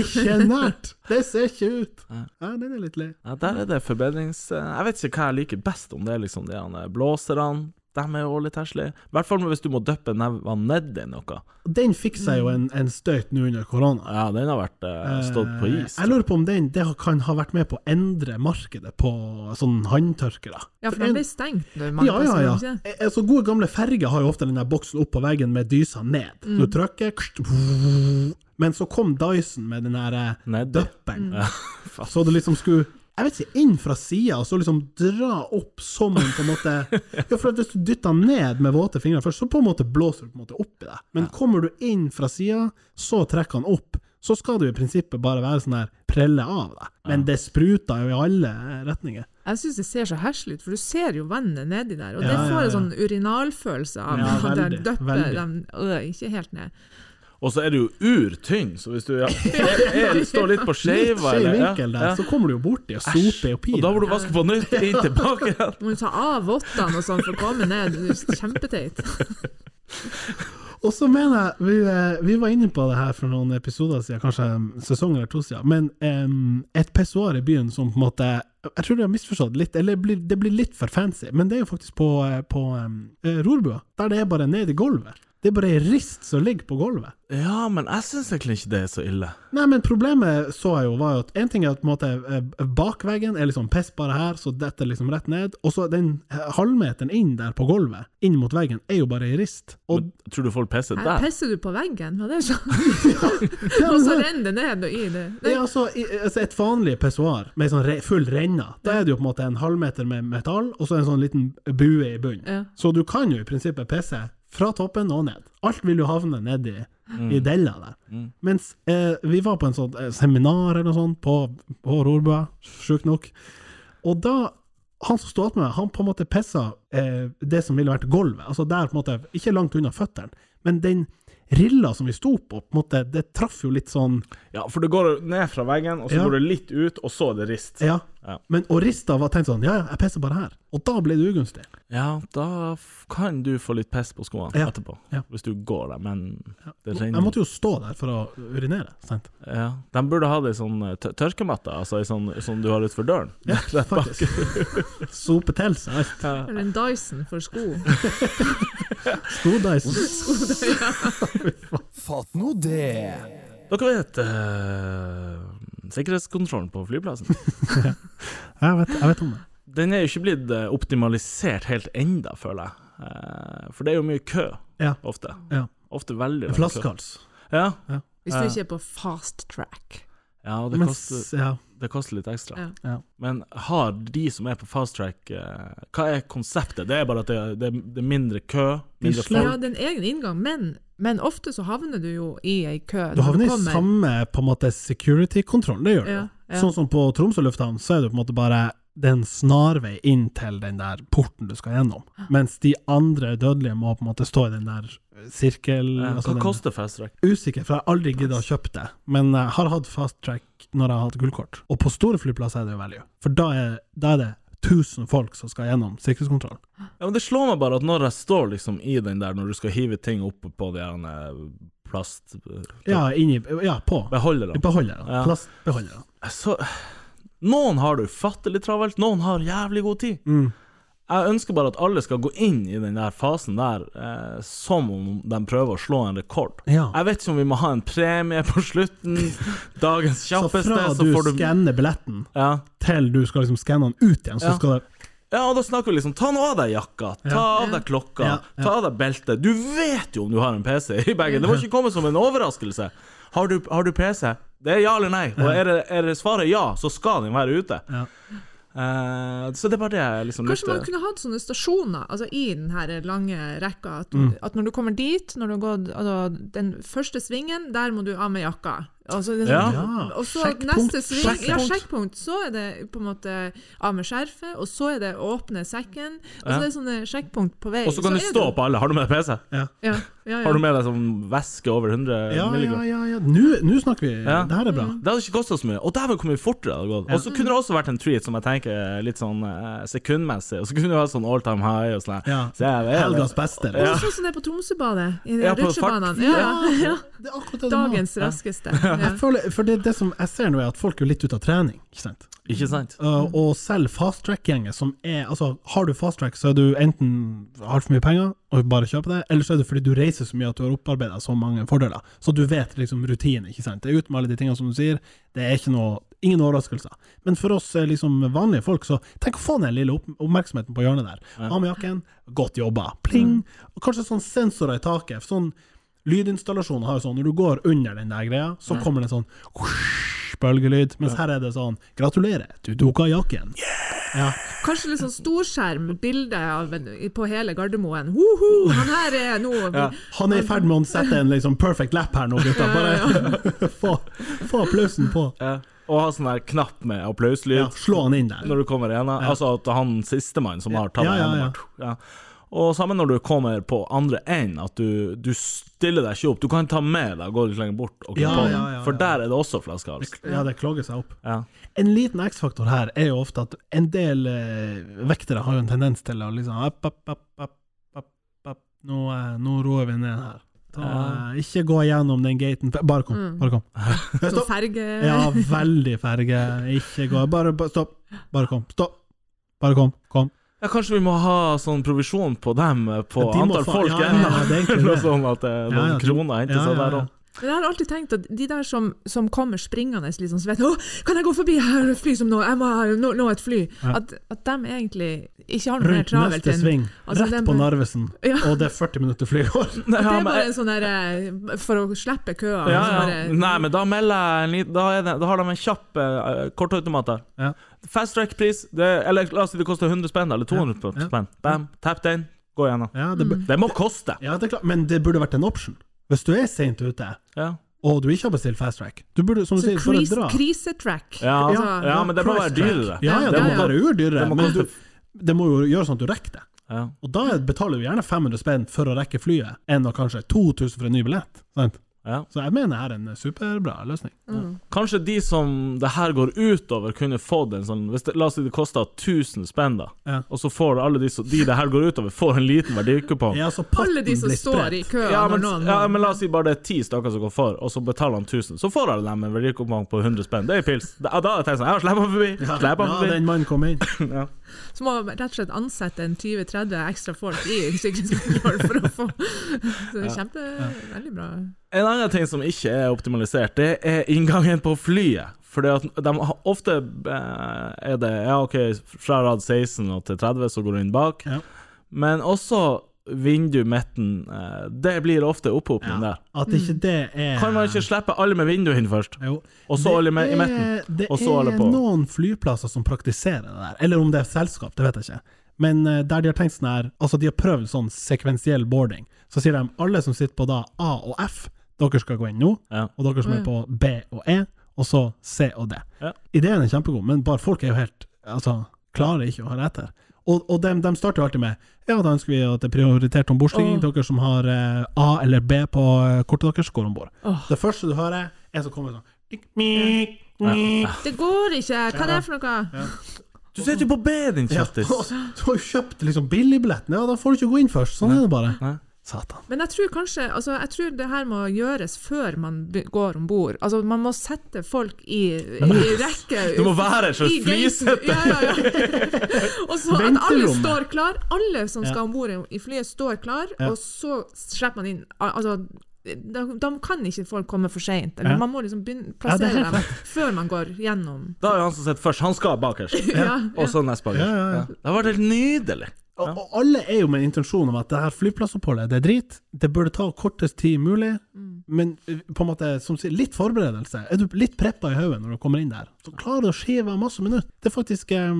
Speaker 4: ikke nært! Det ser ikke ut! Ja, den er litt lei.
Speaker 5: ja, der er det forbedrings... eh, Jeg vet ikke hva jeg liker best, om det er liksom de her blåserne. De er jo litt heslige. I hvert fall hvis du må dyppe nevene nedi noe.
Speaker 4: Og Den fikk seg jo en, en støyt nå under korona.
Speaker 5: Ja, den har vært eh, stått på
Speaker 4: Eh,
Speaker 5: is.
Speaker 4: Jeg lurer på om den det kan ha vært med på å endre markedet på sånn håndtørkere.
Speaker 6: Ja, for den ble stengt. når mange
Speaker 4: Ja, ja, ja.
Speaker 6: plasser, ikke?
Speaker 4: Eh, Altså, gode gamle ferger har jo ofte den der boksen opp på veggen med dysa ned. Du trykker kst, Men så kom Dyson med den der eh,
Speaker 5: Nedi.
Speaker 4: døpperen. Så du liksom skulle jeg vet ikke, inn fra sida, og så liksom dra opp som en på en måte Ja, for at hvis du dytter den ned med våte fingre først, så på en måte blåser du på en måte opp i det. Men kommer du inn fra sida, så trekker han opp, så skal det jo i prinsippet bare være sånn her prelle av deg. Men det spruter jo i alle retninger.
Speaker 6: Jeg syns det ser så heslig ut, for du ser jo vannet nedi der, og
Speaker 4: Ja,
Speaker 6: det
Speaker 4: ja,
Speaker 6: får en
Speaker 4: ja.
Speaker 6: sånn urinalfølelse av
Speaker 4: Ja,
Speaker 6: at jeg
Speaker 4: veldig,
Speaker 6: døpper
Speaker 4: veldig.
Speaker 6: dem øh, ikke helt ned.
Speaker 5: Og så er du jo urtynn, så hvis du ja, er, er, står litt på
Speaker 4: Litt
Speaker 5: skeiva
Speaker 4: skjev
Speaker 5: eller ja,
Speaker 4: vinkel der,
Speaker 5: ja.
Speaker 4: så kommer du jo borti og soper i
Speaker 5: Og da
Speaker 4: opinen.
Speaker 5: må du vaske på nytt inn tilbake igjen.
Speaker 6: Du må ta av vottene og sånn for å komme ned, det er kjempeteit.
Speaker 4: Og så mener jeg, vi, eh, vi var inne på det her for noen episoder siden, kanskje en sesong eller to siden, men em, et pessoar i byen som på en måte Jeg tror de har misforstått litt, eller blir, det blir litt for fancy, men det er jo faktisk på, eh, på em, eh, Rorbua, der det er bare ned i gulvet. Det er bare ei rist som ligger på gulvet.
Speaker 5: Ja, men jeg syns egentlig ikke det er så ille.
Speaker 4: Nei, men problemet så jeg jo var jo at en ting er at på en måte eh, bakveggen er liksom piss bare her, så detter liksom rett ned, og så den eh, halvmeteren inn der på gulvet, inn mot veggen, er jo bare ei rist. Og
Speaker 5: Men, tror du folk pisser
Speaker 6: Her
Speaker 5: der?
Speaker 6: pisser du på veggen, var det sånn?
Speaker 4: Ja,
Speaker 6: Og
Speaker 4: men
Speaker 6: så
Speaker 4: det-
Speaker 6: renner det ned og i det.
Speaker 4: det
Speaker 6: Nei,
Speaker 4: er altså, i- altså et vanlig pessoar med sånn re, full renne, da er det jo på en måte en halvmeter med metall, og så en sånn liten bue i bunnen.
Speaker 6: Ja.
Speaker 4: Så du kan jo i prinsippet pisse fra toppen og ned. Alt vil jo havne nedi i della der. Mens eh, vi var på en sånn eh, seminar eller noe sånt på, på Rorbua, sjukt nok, og da han som stod med meg, han på en måte pissa eh, det som ville vært gulvet, altså der på en måte, ikke langt unna føttene, men den rilla som vi sto på, på en måte, det traff jo litt sånn
Speaker 5: Ja, for det går ned fra veggen, og så
Speaker 4: Ja.
Speaker 5: går det litt ut, og så er det rist.
Speaker 4: Ja.
Speaker 5: Ja.
Speaker 4: Men og Rista var tenkt sånn Ja, ja, jeg pisser bare her. Og da ble det ugunstig.
Speaker 5: Ja, da f- kan du få litt piss på skoene
Speaker 4: Ja.
Speaker 5: etterpå,
Speaker 4: Ja.
Speaker 5: hvis du går der, men det
Speaker 4: Jeg
Speaker 5: renner.
Speaker 4: måtte jo stå der for å urinere. Sant?
Speaker 5: ja. De burde ha det i sånn eh, tør- tørkematte, altså i sånn som du har utenfor døren.
Speaker 4: Ja, faktisk. Sope til seg alt.
Speaker 6: Eller en Dyson for sko.
Speaker 4: Skodeisen.
Speaker 7: Fatt nå det!
Speaker 5: Dere vet eh, sikkerhetskontrollen på flyplassen?
Speaker 4: Jeg vet, jeg vet om det.
Speaker 5: Den er jo ikke blitt eh, optimalisert helt enda, føler jeg. Eh, For det er jo mye kø,
Speaker 4: Ja.
Speaker 5: ofte.
Speaker 4: Ja.
Speaker 5: Ofte veldig lang kø.
Speaker 4: Flaskehals.
Speaker 5: Ja.
Speaker 6: Hvis du ikke er på fast track.
Speaker 5: ja, og det
Speaker 4: Men
Speaker 5: koster,
Speaker 4: s- ja.
Speaker 5: det koster litt ekstra.
Speaker 6: Ja.
Speaker 4: Ja.
Speaker 5: Men har de som er på fast track eh, Hva er konseptet? Det er bare at det, det, det er mindre kø, mindre
Speaker 4: slår-
Speaker 5: folk.
Speaker 6: Ja, det er en egen inngang, men, men ofte så havner du jo i ei kø.
Speaker 4: Du
Speaker 6: når
Speaker 4: havner i
Speaker 6: kommer.
Speaker 4: samme på en måte security-kontroll, det gjør du. jo.
Speaker 6: Ja, ja.
Speaker 4: Sånn som på Tromsø lufthavn, så er det på en måte bare det er en snarvei inn til den der porten du skal gjennom, mens de andre dødelige må på en måte stå i den der sirkel...
Speaker 5: Ja,
Speaker 4: altså
Speaker 5: Hva
Speaker 4: den-
Speaker 5: koster fast track?
Speaker 4: Usikker, for jeg har aldri giddet å kjøpe det, men jeg har hatt fast track når jeg har hatt gullkort. Og på store flyplasser er det jo value, for da er, da er det 1000 folk som skal gjennom sikkerhetskontrollen.
Speaker 5: Ja, men Det slår meg bare at når jeg står liksom i den der, når du skal hive ting opp på de her eh, plast...
Speaker 4: Ja, inni, ja på.
Speaker 5: Beholderne.
Speaker 4: Beholderne.
Speaker 5: Ja.
Speaker 4: Plastbeholderne.
Speaker 5: så, Noen har det ufattelig travelt, noen har jævlig god tid.
Speaker 4: Mm.
Speaker 5: Jeg ønsker bare at alle skal gå inn i den der fasen der eh, som om de prøver å slå en rekord.
Speaker 4: Ja.
Speaker 5: Jeg vet ikke om vi må ha en premie på slutten. Dagens
Speaker 4: Så
Speaker 5: kjappeste,
Speaker 4: fra
Speaker 5: så,
Speaker 4: du
Speaker 5: får du
Speaker 4: skanner billetten
Speaker 5: ja.
Speaker 4: til du skal liksom skanne den ut igjen, så
Speaker 5: Ja.
Speaker 4: skal det
Speaker 5: ja, og da snakker vi liksom Ta nå av deg jakka, ta av deg klokka,
Speaker 4: Ja, ja.
Speaker 5: ta av deg beltet. Du vet jo om du har en PC i bagen, det må ikke komme som en overraskelse. Har du, har du PC? Det er ja eller nei, og er det, er det svaret ja, så skal den være ute.
Speaker 4: Ja.
Speaker 5: Eh, så det er bare det jeg liksom
Speaker 6: Kanskje man
Speaker 5: lytter-
Speaker 6: kunne hatt sånne stasjoner altså i den her lange rekka. At,
Speaker 5: Mm.
Speaker 6: at når du kommer dit, når du har gått altså, den første svingen, der må du av med jakka. Altså, det er
Speaker 5: Ja.
Speaker 6: sånn- Og så
Speaker 4: Sjekkpunkt,
Speaker 6: neste sving, ja,
Speaker 4: sjekkpunkt.
Speaker 6: sjekkpunkt. Så er det på en måte av med skjerfet, og så er det åpne sekken. Og så
Speaker 5: Ja.
Speaker 6: er det sånne sjekkpunkt på vei.
Speaker 5: Og så kan du
Speaker 6: er
Speaker 5: stå på alle. Har du med deg PC?
Speaker 6: Ja, ja, ja.
Speaker 5: Har du med deg sånn væske over 100
Speaker 4: Ja, ja,
Speaker 5: milligram?
Speaker 4: ja. ja. Nå nå snakker vi.
Speaker 5: Ja.
Speaker 4: Det her er bra.
Speaker 5: Det hadde ikke kosta så mye. Og dæven, hvor mye fortere det hadde gått. Og så kunne det også vært en treat som jeg tenker er litt sånn eh, sekundmessig. Og så kunne du ha sånn all time high og sånn. her.
Speaker 4: Ja.
Speaker 5: Så jeg vet-
Speaker 4: Helgas beste.
Speaker 6: Og
Speaker 4: eller?
Speaker 6: sånn som det er på Tromsøbadet, i de
Speaker 5: Ja, på
Speaker 6: rutsjebanene.
Speaker 5: fart-
Speaker 6: Ja, ja.
Speaker 4: Det er akkurat det du må.
Speaker 6: Dagens raskeste. Ja.
Speaker 4: Jeg føler, for det, det som jeg ser nå, er at folk er jo litt ute av trening, ikke sant?
Speaker 5: Ikke sant?
Speaker 4: Uh, og selv fasttrack-gjengen som er Altså, har du fasttrack, så er du enten har for mye penger og bare kjøper det, eller så er det fordi du reiser så mye at du har opparbeida så mange fordeler. Så du vet liksom rutinen, ikke sant. Det er ut med alle de tingene som du sier. Det er ikke noe Ingen overraskelser. Men for oss eh, liksom vanlige folk, så tenk å få den lille opp oppmerksomheten på hjørnet der. Av med jakken, godt jobba, pling. Og kanskje sånn sensorer i taket. Sånn lydinstallasjoner har jo sånn, når du går under den der greia, så kommer det en sånn bølgelyd, mens her er det sånn Gratulerer, du tok av jakken. Ja.
Speaker 6: Kanskje litt sånn storskjerm, bilde av en, på hele Gardermoen. Woho, han her er nå
Speaker 4: Han er i ferd med å sette en liksom perfect lap her nå, gutta. Bare få, få applausen på.
Speaker 5: Ja. Og ha sånn her knapp med applauslyd
Speaker 4: Ja, slå han inn der.
Speaker 5: når du kommer igjen. da. Altså at han sistemann som har tatt
Speaker 4: Ja,
Speaker 5: deg
Speaker 4: ja,
Speaker 5: igjen, bare, ja. Og sammen når du kommer på andre enden, at du, du stiller deg ikke opp. Du kan ta med deg og gå litt lenger bort, og
Speaker 4: Ja,
Speaker 5: på den,
Speaker 4: ja, ja,
Speaker 5: for
Speaker 4: ja.
Speaker 5: der er det også altså. flaskehals.
Speaker 4: Ja, det klager seg opp.
Speaker 5: Ja.
Speaker 4: En liten X-faktor her er jo ofte at en del eh, vektere har jo en tendens til å liksom app, app, app, app, app, app. Nå, eh, nå roer vi ned her. Ta, eh, ikke gå gjennom den gaten Bare kom, bare kom.
Speaker 6: sånn
Speaker 4: Stopp.
Speaker 6: ferge...
Speaker 4: Ja, veldig ferge. Ikke gå Bare, bare stopp. Bare kom. Stopp. Bare kom. Kom.
Speaker 5: Ja, kanskje vi må ha sånn provisjon på dem eh, på
Speaker 4: Ja, de må
Speaker 5: antall
Speaker 4: fa-
Speaker 5: folk
Speaker 4: ja, ja,
Speaker 5: ennå?
Speaker 4: ja, det er egentlig
Speaker 5: Noe
Speaker 4: det.
Speaker 5: sånn at det er noen
Speaker 4: Ja, ja, de-
Speaker 5: kroner henter
Speaker 4: ja,
Speaker 5: seg
Speaker 4: ja,
Speaker 5: der
Speaker 4: ja.
Speaker 5: òg.
Speaker 6: Men Jeg har alltid tenkt at de der som, som kommer springende litt sånn svett 'Å, kan jeg gå forbi? Jeg har et fly som nå! Jeg må ha- nå, nå et fly!' At, at de egentlig ikke har noe mer
Speaker 4: Rundt
Speaker 6: travelt
Speaker 4: neste
Speaker 6: enn-
Speaker 4: sving.
Speaker 6: Altså,
Speaker 4: Rett
Speaker 6: den
Speaker 4: på
Speaker 6: bør-
Speaker 4: Narvesen.
Speaker 6: Ja.
Speaker 4: Og det er 40 minutter flygår.
Speaker 5: Nei,
Speaker 6: Det
Speaker 5: ja,
Speaker 6: er
Speaker 5: men-
Speaker 6: bare en sånn derre For å slippe køa. så
Speaker 5: ja, ja.
Speaker 6: bare-
Speaker 5: Nei, men da melder jeg en liten da, er det- da har de en kjapp eh, kortautomat der.
Speaker 4: Ja.
Speaker 5: Fast track-pris, det- eller la oss si det koster 100 spenn, eller 200
Speaker 4: ja.
Speaker 5: spenn. Bam, tapp den, gå gjennom.
Speaker 4: Ja, det, bur-
Speaker 5: Det må koste!
Speaker 4: Mm. ja, det er klart. Men det burde vært en option. Hvis du er seint ute,
Speaker 5: Ja,
Speaker 4: og du ikke har bestilt fast track, du burde som du
Speaker 6: Så
Speaker 4: sier, bare
Speaker 6: kris,
Speaker 4: dra.
Speaker 6: krisetrack.
Speaker 5: ja, ja,
Speaker 6: Altså,
Speaker 5: men det må være
Speaker 4: Price track.
Speaker 5: dyrere.
Speaker 4: Ja, ja,
Speaker 6: Ja,
Speaker 4: det
Speaker 6: ja,
Speaker 4: må
Speaker 6: ja.
Speaker 4: være urdyrere,
Speaker 5: Det må
Speaker 4: men du,
Speaker 5: koste-
Speaker 4: det må jo gjøre sånn at du rekker det.
Speaker 5: Ja.
Speaker 4: Og da betaler du gjerne 500 spenn for å rekke flyet, enn å kanskje 2000 for en ny billett. Sant?
Speaker 5: Ja.
Speaker 4: Så jeg mener det er en superbra løsning.
Speaker 5: Kanskje de som det her går utover, kunne fått en sånn hvis det, La oss si det koster 1000 spenn, da.
Speaker 4: Ja.
Speaker 5: Og så får alle de, som- de det her går utover, får en liten verdikupong.
Speaker 4: Ja, så
Speaker 6: Alle de
Speaker 4: altså potten
Speaker 6: som
Speaker 4: blir
Speaker 6: står i
Speaker 4: spredt.
Speaker 6: køa
Speaker 5: Ja,
Speaker 6: når
Speaker 5: men,
Speaker 6: noen
Speaker 5: ja, men la oss si bare det er ti stykker som går for, og så betaler han 1000. Så får alle dem en verdikupong på 100 spenn. Det er pils. Da, da har jeg tenkt sånn, jeg har sleppa forbi. Sleppa
Speaker 4: Ja,
Speaker 5: forbi.
Speaker 4: den mannen kom inn.
Speaker 6: Så må man rett og slett ansette en 20-30 ekstra folk i sikkerhetskontroll for å få Så det er kjempe... Veldig bra.
Speaker 5: En annen ting som ikke er optimalisert, det er inngangen på flyet. Fordi at de har- ofte eh, er det Ja, OK, fra rad 16 og til 30, så går du inn bak.
Speaker 4: Ja.
Speaker 5: Men også vindu midten. eh, Det blir ofte opphopning der.
Speaker 4: At ikke det er
Speaker 5: Kan man ikke slippe alle med vindu inn først?
Speaker 4: Jo.
Speaker 5: Og så
Speaker 4: Det
Speaker 5: alle med, i
Speaker 4: er-
Speaker 5: midten?
Speaker 4: Det
Speaker 5: Og så alle
Speaker 4: er
Speaker 5: på?
Speaker 4: noen flyplasser som praktiserer det der, eller om det er selskap, det vet jeg ikke. Men eh, der de har tenkt sånn her, altså de har prøvd sånn sekvensiell boarding, så sier de alle som sitter på da A og F, dere skal gå inn nå,
Speaker 5: Ja.
Speaker 4: og dere som er på B og E, og så C og D.
Speaker 5: Ja.
Speaker 4: Ideen er kjempegod, men bare folk er jo helt, altså, klarer ikke å høre etter. Og, og de, starter jo alltid med Ja, da ønsker vi at det er prioritert ombordstigning. Dere som har eh, A eller B på eh, kortet deres, går om bord. Det første du hører, er som kommer sånn «Tikk, mikk, mikk».
Speaker 6: Det går ikke! Hva er det for noe?
Speaker 5: Du sitter jo på B, din
Speaker 4: Ja,
Speaker 5: kjeftis!
Speaker 4: og så så har du kjøpt liksom billigbilletten, ja, da får du ikke gå inn først. Sånn er det bare.
Speaker 5: Nei.
Speaker 4: Satan.
Speaker 6: Men jeg tror kanskje altså, Jeg tror det her må gjøres før man be- går om bord. Altså, man må sette folk i, i rekke
Speaker 5: Det må være et slags
Speaker 6: i gaten.
Speaker 5: flysette.
Speaker 6: Ja, ja, ja. Og så at alle
Speaker 4: Venterommet.
Speaker 6: står klar Alle som
Speaker 4: Ja.
Speaker 6: skal om bord i flyet, står klar,
Speaker 4: Ja.
Speaker 6: og så slipper man inn Al- Altså da, da kan ikke folk komme for seint.
Speaker 4: Ja.
Speaker 6: Man må liksom begynne,
Speaker 4: Ja, det er
Speaker 6: plassere
Speaker 4: helt
Speaker 6: dem før man går gjennom.
Speaker 5: Da er jo han som sitter først, han skal bakerst.
Speaker 6: Ja.
Speaker 5: Og så nest bakerst.
Speaker 4: Ja, ja, ja.
Speaker 5: Det har vært helt nydelig.
Speaker 4: Og, og alle er jo med en intensjon om at det her flyplassoppholdet det er drit, det burde ta kortest tid mulig, men eh, på en måte som sier, litt forberedelse. Er du litt preppa i hodet når du kommer inn der, så klarer du å skive av masse minutter. Det er faktisk eh,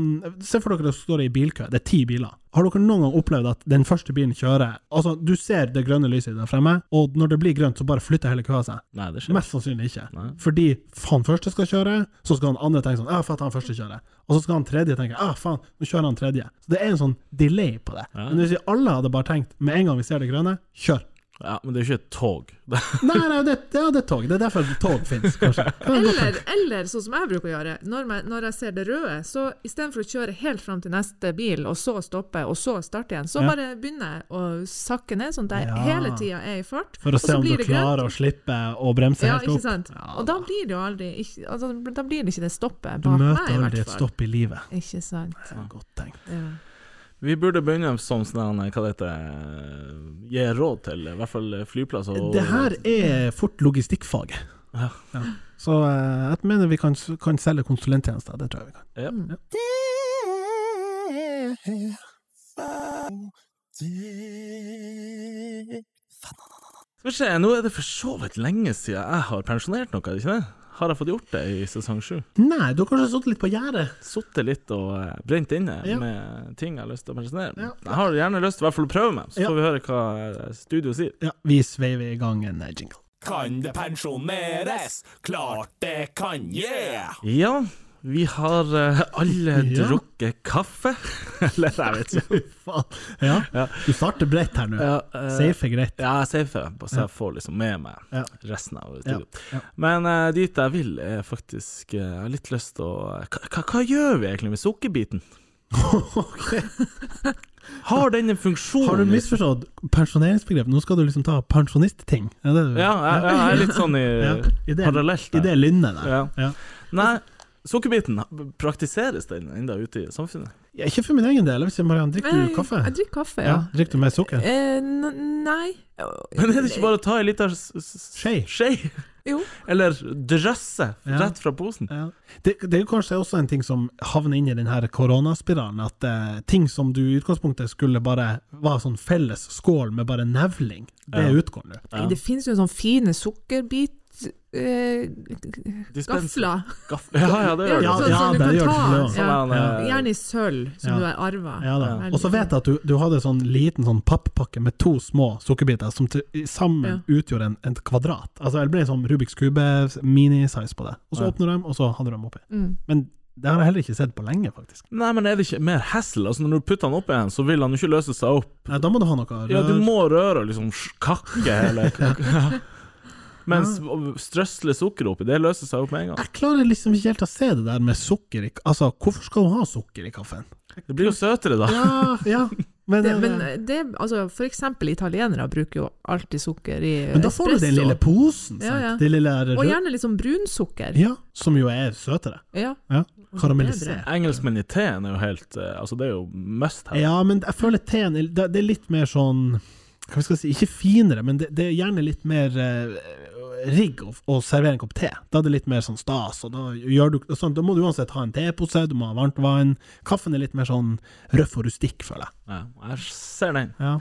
Speaker 4: Se for dere dere står i bilkø, det er ti biler. Har dere noen gang opplevd at den første bilen kjører Altså, du ser det grønne lyset der fremme, og når det blir grønt, så bare flytter hele køa seg.
Speaker 5: Nei, det skjer.
Speaker 4: Mest sannsynlig ikke. Fordi faen første skal kjøre, så skal han andre tenke sånn Ja, faen, han første kjører. Og så skal han tredje tenke Ja, faen, nå kjører han tredje. Så det er en sånn delay på det. Men hvis vi alle hadde bare tenkt med en gang vi ser det grønne, kjør.
Speaker 5: Ja, men det er jo ikke et tog. Det
Speaker 4: Nei, nei, det, det, ja, det er tog. Det er derfor tog finnes, kanskje. Kan jeg godt
Speaker 6: Eller, eller sånn som jeg bruker å gjøre, når, meg, når jeg ser det røde, så istedenfor å kjøre helt fram til neste bil, og så stoppe, og så starte igjen, så
Speaker 4: Ja.
Speaker 6: bare begynner jeg å sakke ned, sånn at jeg
Speaker 4: Ja.
Speaker 6: hele tida er i fart.
Speaker 4: For å
Speaker 6: og
Speaker 4: se
Speaker 6: så
Speaker 4: om du
Speaker 6: blir det grønt.
Speaker 4: klarer å slippe å bremse
Speaker 6: Ja,
Speaker 4: helt
Speaker 6: ikke
Speaker 4: opp.
Speaker 6: sant. Og da blir det jo aldri ikke, altså, Da blir det ikke det stoppet
Speaker 4: Du
Speaker 6: bak meg,
Speaker 4: møter
Speaker 6: i
Speaker 4: aldri
Speaker 6: hvert
Speaker 4: et
Speaker 6: fall.
Speaker 4: stopp i livet.
Speaker 6: Ikke sant.
Speaker 4: Det er Godt tenkt.
Speaker 6: Ja.
Speaker 5: Vi burde begynne som sånn, hva det heter, eh, gi råd til i hvert fall flyplasser og
Speaker 4: Det her er fort logistikkfaget.
Speaker 5: Ja.
Speaker 4: Ja. Så eh, jeg mener vi kan, kan selge konsulenttjenester. Det tror jeg vi kan.
Speaker 5: Ja. Skal vi se, nå er det for så vidt lenge siden jeg har pensjonert noe, er det ikke det? Har jeg fått gjort det i sesong sju?
Speaker 4: Nei, du har kanskje sittet litt på gjerdet.
Speaker 5: Sittet litt og eh, brent inne
Speaker 4: Ja.
Speaker 5: med ting jeg har lyst til å pensjonere?
Speaker 4: Ja.
Speaker 5: Jeg har gjerne lyst til i hvert fall å prøve meg, så
Speaker 4: Ja.
Speaker 5: får vi høre hva eh, studio sier.
Speaker 4: Ja, vi sveiver i gang en eh, jingle.
Speaker 3: Kan det pensjoneres? Klart det kan, yeah!
Speaker 5: Ja, vi har eh, alle
Speaker 4: Ja.
Speaker 5: drukket kaffe. Eller jeg vet ikke.
Speaker 4: Fy faen. Ja.
Speaker 5: Ja.
Speaker 4: Du starter bredt her nå.
Speaker 5: Ja, eh,
Speaker 4: Safe er greit.
Speaker 5: Ja, jeg safer dem, så jeg får liksom med meg
Speaker 4: Ja.
Speaker 5: resten av
Speaker 4: Ja.
Speaker 5: studioet.
Speaker 4: Ja.
Speaker 5: Men eh, dit jeg vil, er faktisk eh, Jeg har litt lyst til å eh, hva, hva, hva gjør vi egentlig med sukkerbiten?
Speaker 4: Ok.
Speaker 5: Har den en funksjon?
Speaker 4: Har du misforstått pensjoneringsbegrep? Nå skal du liksom ta pensjonistting. Er det det du-
Speaker 5: Ja, jeg, jeg er litt sånn i
Speaker 4: Ja. I det,
Speaker 5: parallelt
Speaker 4: I
Speaker 5: der.
Speaker 4: det lynnet der.
Speaker 5: Ja.
Speaker 4: Ja.
Speaker 5: Nei, sukkerbiten, praktiseres den enda ute i samfunnet?
Speaker 6: Eh,
Speaker 4: Ja, ikke for min egen del. Jeg vil si, Mariann, drikker du kaffe?
Speaker 6: Jeg drikker kaffe,
Speaker 4: Ja,
Speaker 6: ja.
Speaker 4: Drikker du mer sukker?
Speaker 6: Eh, n- nei
Speaker 5: Men er det
Speaker 6: eh,
Speaker 5: ikke bare å ta ei lita s- s-
Speaker 4: Skje.
Speaker 5: skje?
Speaker 6: Jo.
Speaker 5: Eller drøsse
Speaker 4: Ja.
Speaker 5: rett fra posen?
Speaker 4: Ja. Det, det er jo kanskje også en ting som havner inn i den her koronaspiralen, at eh, ting som du i utgangspunktet skulle bare var sånn felles skål med bare nevling, det
Speaker 5: Ja.
Speaker 4: utgår nå.
Speaker 5: Ja.
Speaker 6: Det finnes jo sånne fine sukkerbit... Eh,
Speaker 5: Dispenser.
Speaker 6: gafler.
Speaker 5: Gaff- Ja, ja, det gjør det.
Speaker 4: Ja,
Speaker 6: sånn som du
Speaker 4: det
Speaker 6: kan
Speaker 4: gjør
Speaker 6: ta.
Speaker 4: det også.
Speaker 5: Sånn er
Speaker 6: Ja.
Speaker 5: det.
Speaker 6: Gjerne i sølv, som
Speaker 4: Eh, Ja.
Speaker 6: du har arva.
Speaker 4: Ja da.
Speaker 6: Veldig
Speaker 4: Og så vet jeg at du, du hadde sånn liten sånn papppakke med to små sukkerbiter som til, i sammen utgjorde en, en kvadrat. Altså det ble en sånn Rubiks kube minisize på det. Og så
Speaker 5: Ja.
Speaker 4: åpner du dem, og så hadde du dem oppi.
Speaker 6: Mm.
Speaker 4: Men det har jeg heller ikke sett på lenge, faktisk.
Speaker 5: Nei, men er det ikke mer hassle? Altså, når du putter den opp igjen, så vil den jo ikke løse seg opp.
Speaker 4: Nei, da må du ha noe rør.
Speaker 5: Ja, du må røre og liksom sj- kakke eller ja. Mens å strøsle sukker oppi, det løser seg opp med en gang.
Speaker 4: Jeg klarer liksom ikke helt å se det der med sukker i Altså, hvorfor skal du ha sukker i kaffen?
Speaker 5: Det blir jo søtere, da.
Speaker 4: Ja, ja. Men,
Speaker 6: Ah,
Speaker 4: eh,
Speaker 6: Det, men det, altså, for eksempel italienere bruker jo alltid sukker i
Speaker 4: men da får du den
Speaker 6: espresso.
Speaker 4: lille posen, sant?
Speaker 6: Ja, ja.
Speaker 4: Det lille rød-
Speaker 6: Og gjerne litt sånn brunsukker.
Speaker 4: Ja, som jo er søtere.
Speaker 6: Ja.
Speaker 4: Ja.
Speaker 6: Og så
Speaker 4: Karamellisert.
Speaker 5: Engelskmenn i teen er jo helt eh, Altså, det er jo must have.
Speaker 4: Ja, men jeg føler
Speaker 5: Mm.
Speaker 4: teen er- Det det er litt mer sånn Hva skal jeg si Ikke finere, men det, det er gjerne litt mer eh, rigg å, å servere en kopp te. Da er det litt mer sånn stas, og da gjør du sånn, Da må du uansett ha en tepose, du må ha varmt vann. Kaffen er litt mer sånn røff og rustikk, føler jeg.
Speaker 5: Ja, jeg ser den.
Speaker 4: Ja.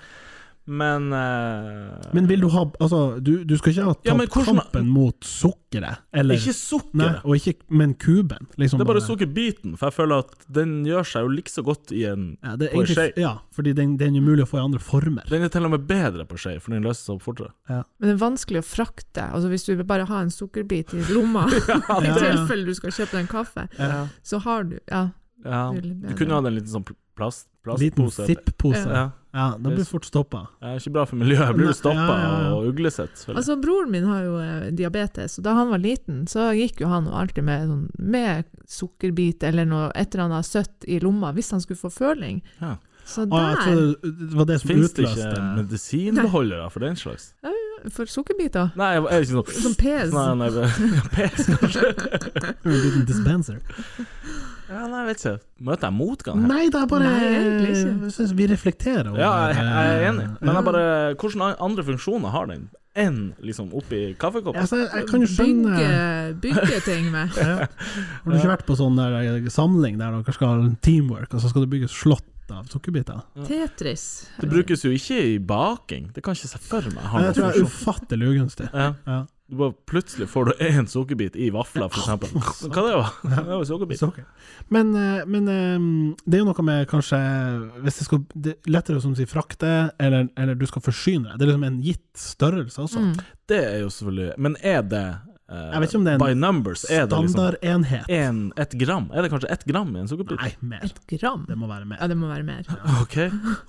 Speaker 5: Men eh,
Speaker 4: Men vil du ha Altså, du, du skal ikke ha tatt
Speaker 5: Ja, men hvordan-
Speaker 4: kampen mot sukkeret, eller
Speaker 5: Ikke
Speaker 4: Nei,
Speaker 5: sukkeret.
Speaker 4: og ikke, men kuben. Liksom
Speaker 5: Det er bare sukkerbiten, for jeg føler at den gjør seg jo like så godt i en
Speaker 4: Ja, det er
Speaker 5: på en
Speaker 4: egentlig,
Speaker 5: skje.
Speaker 4: ja, fordi den, den er umulig å få i andre former.
Speaker 5: Den er til og med bedre på skje, for den løser seg opp fortere.
Speaker 6: Men det er vanskelig å frakte. Altså Hvis du bare har en sukkerbit i lomma, i
Speaker 4: ja.
Speaker 6: tilfelle du skal kjøpe deg en kaffe, så har du Ja.
Speaker 5: Ja.
Speaker 6: Det er litt
Speaker 5: Du
Speaker 6: bedre.
Speaker 5: kunne hatt en liten sånn pl- plast,
Speaker 4: Liten
Speaker 5: plastpose.
Speaker 4: sipp-pose. Ja.
Speaker 5: Ja.
Speaker 4: da blir du fort stoppa.
Speaker 5: Det er ikke bra for miljøet. Jeg blir
Speaker 4: Nei,
Speaker 5: jo stoppa
Speaker 4: ja, ja, ja.
Speaker 5: og uglesett. selvfølgelig.
Speaker 6: Altså, broren min har jo eh, diabetes, og da han var liten, så gikk jo han alltid med, sånn, med sukkerbit eller noe et eller annet søtt i lomma hvis han skulle få føling.
Speaker 5: Ja.
Speaker 6: Så
Speaker 4: Ah, jeg
Speaker 6: der,
Speaker 4: trodde det var det som
Speaker 5: Fins det
Speaker 4: utløste
Speaker 5: ikke medisinbeholdere for den slags?
Speaker 6: for sukkerbiter
Speaker 5: Nei, er det ikke sånn
Speaker 6: Som pes.
Speaker 5: Nei, nei, det- pes, kanskje?
Speaker 4: en liten dispenser.
Speaker 5: Ja, nei, jeg vet ikke. Møter jeg motgang her?
Speaker 4: Nei, det er bare
Speaker 6: Nei, egentlig ikke.
Speaker 4: Jeg synes vi reflekterer over
Speaker 5: Ja, jeg, jeg er enig, men
Speaker 4: Ja.
Speaker 5: jeg bare Hvilke andre funksjoner har den enn liksom oppi kaffekoppen?
Speaker 4: Altså, jeg, jeg kan jo skjønne
Speaker 6: Bygge, bygge ting med.
Speaker 4: ja. Har du ikke vært på sånn der eh, samling der dere skal ha teamwork, og så skal du bygge slott av sukkerbiter?
Speaker 6: Tetris.
Speaker 5: Det brukes jo ikke i baking. Det kan ikke se for meg har
Speaker 4: Nei,
Speaker 5: noen
Speaker 4: Jeg tror jeg er
Speaker 5: funksjon.
Speaker 4: ufattelig ugunstig.
Speaker 5: Ja.
Speaker 4: Ja.
Speaker 5: Du bare plutselig får du én sukkerbit i vafla, for eksempel. Hva det var det? Det var jo sukkerbit.
Speaker 4: Så, ok. Men, eh, men eh, det er jo noe med kanskje Hvis det skal det er lettere å som du sier, frakte, eller, eller du skal forsyne deg. Det er liksom en gitt størrelse også.
Speaker 6: Mm.
Speaker 5: Det er jo selvfølgelig Men er det eh,
Speaker 4: Jeg vet ikke om det er en
Speaker 5: By numbers, er det liksom
Speaker 4: Standardenhet.
Speaker 5: en, ett gram? Er det kanskje ett gram i en sukkerbit?
Speaker 4: Nei, mer.
Speaker 6: Et gram?
Speaker 4: Det må være mer.
Speaker 6: Ja, det må være mer.
Speaker 5: Ok,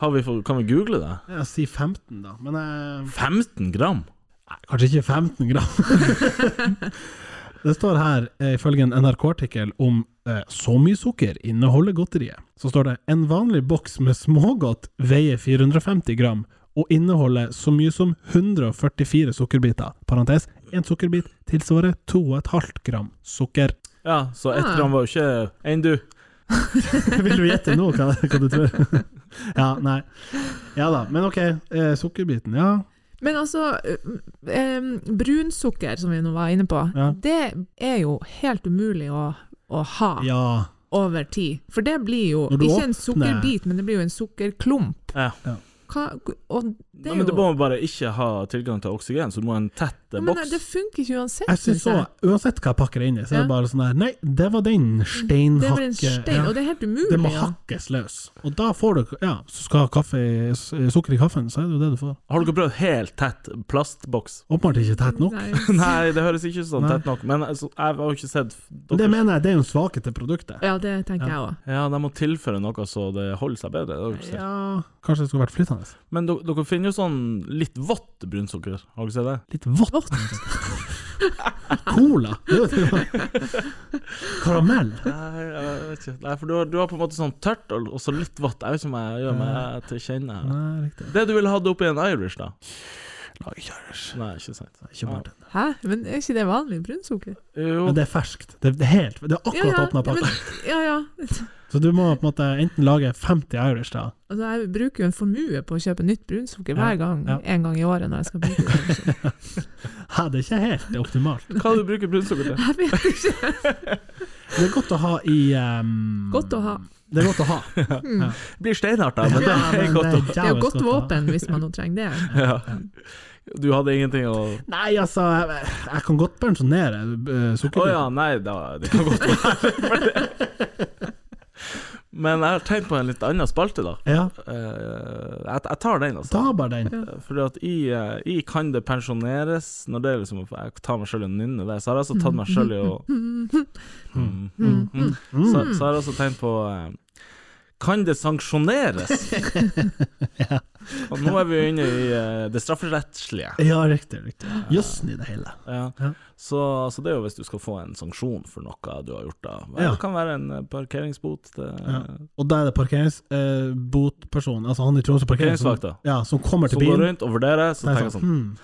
Speaker 5: Har vi fått- Kan vi google det?
Speaker 4: Jeg sier 15, da. Men eh,
Speaker 5: 15 gram?
Speaker 4: nei, kanskje ikke 15 gram. det står her, eh, ifølge en NRK-artikkel om eh, så mye sukker inneholder godteriet, så står det en vanlig boks med smågodt veier 450 gram og inneholder så mye som 144 sukkerbiter. Parentes, en sukkerbit tilsvarer 2,5 gram sukker.
Speaker 5: Ja, så ett
Speaker 6: Ah.
Speaker 5: gram var jo ikke enn du.
Speaker 4: Vil du gjette nå hva, hva du tror? ja, nei. Ja da, men ok. Eh, sukkerbiten, ja.
Speaker 6: Men altså, eh, em, brunsukker, som vi nå var inne på,
Speaker 4: Ja.
Speaker 6: det er jo helt umulig å, å ha
Speaker 4: Ja.
Speaker 6: over tid. For det blir jo
Speaker 4: Når du
Speaker 6: ikke en
Speaker 4: åpner-
Speaker 6: sukkerbit, men det blir jo en sukkerklump.
Speaker 5: Ja.
Speaker 4: Ja.
Speaker 6: Hva, og det
Speaker 5: Nei,
Speaker 6: er
Speaker 5: men du
Speaker 6: jo
Speaker 5: må bare ikke ha tilgang til oksygen, så du må ha en tett Det er
Speaker 6: Men det, det
Speaker 5: boks.
Speaker 6: funker ikke uansett.
Speaker 4: Jeg synes
Speaker 6: synes jeg.
Speaker 4: også, Uansett hva jeg pakker det inn i, så er det
Speaker 6: Ja.
Speaker 4: bare sånn her Nei, det var den
Speaker 6: Det er vel en
Speaker 4: steinhakke...
Speaker 6: stein, og det er helt umulig.
Speaker 4: Det må
Speaker 6: ja.
Speaker 4: hakkes løs. Og da får du Ja, så skal ha kaffe, i- s- sukker i kaffen, så er det jo det du får.
Speaker 5: Har dere prøvd helt tett plastboks?
Speaker 4: Åpenbart ikke tett nok.
Speaker 6: Nei.
Speaker 5: Nei, det høres ikke sånn
Speaker 4: Nei.
Speaker 5: tett nok, men altså, jeg har jo ikke sett
Speaker 4: Men det
Speaker 5: dere.
Speaker 4: mener jeg, det er jo en svakhet til produktet.
Speaker 6: Ja, det tenker jeg òg.
Speaker 5: Ja, de må tilføre noe så det holder seg bedre. Det har dere ikke sett.
Speaker 4: Ja, kanskje det skulle vært flytende.
Speaker 5: Men dere, dere finner jo sånn litt vått brunsukker, har dere sett det?
Speaker 4: Litt vått. Cola. Det vet du hva. Karamell.
Speaker 5: Nei, jeg vet ikke. Nei, for du har, du har på en måte sånn tørt og, og så litt vått. Jeg vet ikke om jeg gjør meg til kjenne. her.
Speaker 4: Nei, riktig.
Speaker 5: Det du ville hatt oppi en Irish, da?
Speaker 4: Lager ikke Irish.
Speaker 5: Nei, ikke sant.
Speaker 4: Ikke bartender.
Speaker 6: Hæ? Men er ikke det vanlig brunsukker?
Speaker 5: Jo,
Speaker 4: Men det er ferskt. Det er helt Det er
Speaker 6: Ja,
Speaker 4: akkurat
Speaker 6: ja.
Speaker 4: åpna
Speaker 6: Ja, men-
Speaker 4: pakke.
Speaker 6: Ja, ja.
Speaker 4: Så du må på en måte enten lage 50 Irish, da.
Speaker 6: Altså, jeg bruker jo en formue på å kjøpe nytt
Speaker 4: Ja,
Speaker 6: brunsukker hver gang,
Speaker 4: ja.
Speaker 6: en gang i året når jeg skal bruke det.
Speaker 4: Hæ, det er ikke helt optimalt.
Speaker 5: hva du bruker brunsukker til?
Speaker 6: Jeg vet ikke.
Speaker 4: Det er godt å ha i ehm,
Speaker 6: Godt å ha. Hmm.
Speaker 4: Det er godt å ha.
Speaker 5: Det blir steinhardt, da. Men det
Speaker 4: Ja,
Speaker 5: er
Speaker 4: men
Speaker 5: godt
Speaker 6: Det er
Speaker 5: å
Speaker 6: jo
Speaker 4: jævlig
Speaker 6: godt
Speaker 4: å ha.
Speaker 6: våpen hvis man nå trenger det.
Speaker 5: ja. Du hadde ingenting å
Speaker 4: Nei, altså, jeg, jeg kan godt pensjonere uh,
Speaker 5: Å
Speaker 4: sukkerkutt.
Speaker 5: ja, nei, da, det kan godt være. Men jeg har tenkt på en litt annen spalte, da.
Speaker 4: ja.
Speaker 5: Eh, Jeg, jeg tar den, altså.
Speaker 4: Ta bare den.
Speaker 5: Fordi at i, eh, i Kan det pensjoneres, når det er liksom jeg tar meg sjøl i å nynne der, så har jeg altså tatt meg sjøl i å Mm,
Speaker 6: Hmm.
Speaker 5: mm, mm. Så, så har jeg altså tenkt på eh, Kan det sanksjoneres? Og nå er vi jo inne i eh, det strafferettslige.
Speaker 4: Ja, riktig. riktig. Jøssen i det hele.
Speaker 5: Ja.
Speaker 4: Ja.
Speaker 5: Så, så det er jo hvis du skal få en sanksjon for noe du har gjort, da.
Speaker 4: Ja.
Speaker 5: Det kan være en eh, parkeringsbot. Det,
Speaker 4: Ja. Og da er det parkeringsbotpersonen, altså han i Tromsø parkering, som,
Speaker 5: Parkeringsvakta.
Speaker 4: ja, som kommer til
Speaker 5: Som går
Speaker 4: bilen.
Speaker 5: rundt og vurderer, så
Speaker 4: Nei,
Speaker 5: tenker jeg
Speaker 4: sånn,
Speaker 5: sånn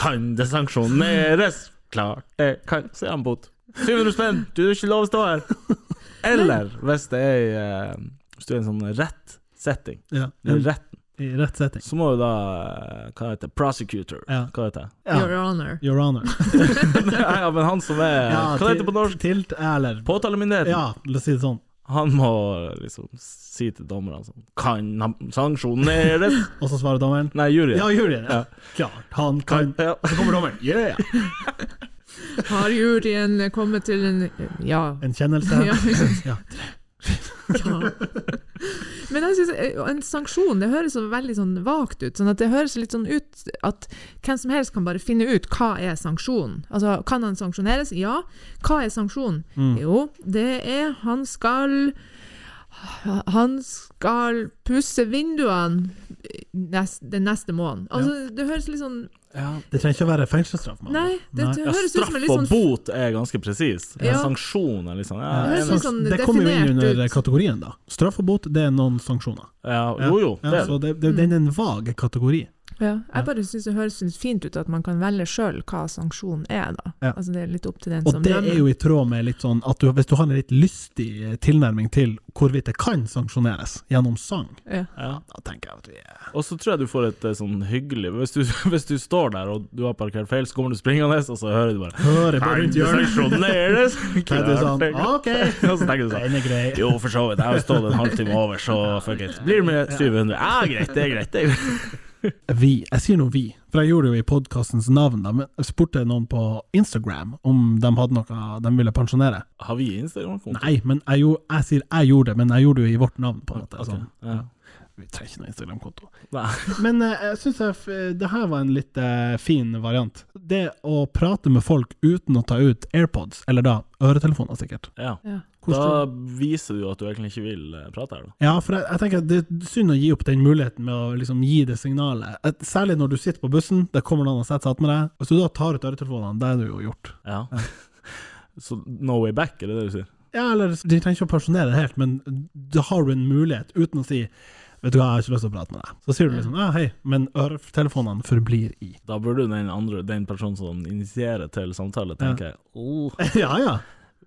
Speaker 5: Kan det sanksjoneres? Klart det kan. Så er han bot. 700 spenn, du har ikke lov å stå her. Eller hvis det er i, eh, Hvis du er i en sånn rett setting,
Speaker 4: hmm, ja,
Speaker 5: eller
Speaker 4: i-
Speaker 5: rett,
Speaker 4: I rett setting.
Speaker 5: så må jo da eh, Hva heter det? Prosecutor.
Speaker 4: Ja.
Speaker 5: Hva heter det?
Speaker 4: Ja.
Speaker 6: Your honor.
Speaker 4: Your honor.
Speaker 5: ja, men han som er
Speaker 4: Ja,
Speaker 5: Hva heter det på
Speaker 4: til-
Speaker 5: norsk?
Speaker 4: Tilt eller
Speaker 5: Påtalemyndigheten.
Speaker 4: Ja, la oss si det sånn.
Speaker 5: Han må liksom si til dommerne sånn Kan han sanksjoneres?
Speaker 4: Og så svarer dommeren.
Speaker 5: Nei, juryen.
Speaker 4: Ja, Julie. Ja. Klart. Han kan
Speaker 5: Ja.
Speaker 4: Så kommer dommeren. Yeah!
Speaker 6: Har juryen kommet til en Ja.
Speaker 4: En kjennelse.
Speaker 6: ja.
Speaker 4: Ja.
Speaker 6: Ja. Men jeg synes, eh, en sanksjon det høres så veldig sånn vagt ut. Sånn at Det høres litt sånn ut at hvem som helst kan bare finne ut hva er sanksjonen. Altså, kan han sanksjoneres? Ja. Hva er sanksjonen?
Speaker 4: Mm.
Speaker 6: Jo, det er han skal han skal pusse vinduene nest, den neste måneden. Altså, Det høres litt sånn
Speaker 4: Det trenger ikke å være fengselsstraff. mann.
Speaker 6: Nei, det
Speaker 4: Nei.
Speaker 5: Ja,
Speaker 6: høres ut
Speaker 5: straff
Speaker 6: som en litt
Speaker 5: og
Speaker 6: sånn
Speaker 5: bot er ganske presis. Men
Speaker 6: Ja.
Speaker 5: Sanksjon er litt sånn ja,
Speaker 6: Det høres
Speaker 5: en-
Speaker 6: litt sånn
Speaker 4: Eh, det kommer jo inn
Speaker 6: definert
Speaker 4: under
Speaker 6: ut.
Speaker 4: kategorien, da. Straff og bot, det er noen sanksjoner.
Speaker 5: ja, Jo, jo.
Speaker 4: Ja,
Speaker 5: Det, er
Speaker 4: så
Speaker 5: det.
Speaker 4: det, det, den er en vag kategori.
Speaker 6: Ja, jeg bare syns det høres litt fint ut at man kan velge sjøl hva sanksjonen er, da.
Speaker 4: Ja.
Speaker 6: Altså det er litt opp til den
Speaker 4: Og
Speaker 6: som
Speaker 4: det
Speaker 6: dømmer.
Speaker 4: er jo i tråd med litt sånn at du, hvis du har en litt lystig eh, tilnærming til hvorvidt det kan sanksjoneres gjennom sang,
Speaker 6: ja.
Speaker 5: Ja.
Speaker 4: da tenker jeg at vi er
Speaker 5: Og så tror jeg du får et eh, sånn hyggelig hvis du, hvis du står der og du har parkert feil, så kommer du springende, og så hører du bare
Speaker 4: Hører på
Speaker 5: Kan
Speaker 4: rundt
Speaker 5: det
Speaker 4: hjørnet.
Speaker 5: sanksjoneres?
Speaker 4: Det er sånn,
Speaker 5: Klart
Speaker 4: ok,
Speaker 5: det. Og så tenker du sånn
Speaker 4: den er grei.
Speaker 5: Jo, for så vidt. Jeg har jo stått en halvtime over, så fuck it. Blir det med 700? Ja, greit, det er greit. Det er greit.
Speaker 4: Vi, jeg sier nå vi, for jeg gjorde det jo i podkastens navn, da, men jeg spurte noen på Instagram om de hadde noe de ville pensjonere.
Speaker 5: Har vi Instagram-konto?
Speaker 4: Nei, men jeg, gjorde, jeg sier jeg gjorde det, men jeg gjorde det jo i vårt navn, på en måte.
Speaker 5: Ok,
Speaker 4: Sånn.
Speaker 5: ja.
Speaker 4: Vi trenger ikke noen Instagram-konto.
Speaker 5: Nei.
Speaker 4: Men eh, jeg syns det her var en litt eh, fin variant. Det å prate med folk uten å ta ut AirPods, eller da øretelefoner, sikkert.
Speaker 5: Ja.
Speaker 6: Ja.
Speaker 5: Da viser du jo at du egentlig ikke vil eh, prate her, da.
Speaker 4: Ja, for jeg, jeg tenker at det er synd å gi opp den muligheten med å liksom gi det signalet. At, særlig når du sitter på bussen, det kommer noen og setter seg attmed deg. Hvis du da tar ut øretelefonene, det er det jo gjort.
Speaker 5: Ja. Så no way back, er det det du sier?
Speaker 4: Ja, eller de trenger ikke å pensjonere det helt, men da har du en mulighet uten å si Vet du hva, jeg har ikke lyst til å prate med deg. Så sier du liksom ja, hei, men øretelefonene forblir i.
Speaker 5: Da burde jo den andre, den personen som initierer til samtale, tenke oh,
Speaker 4: ja, ja.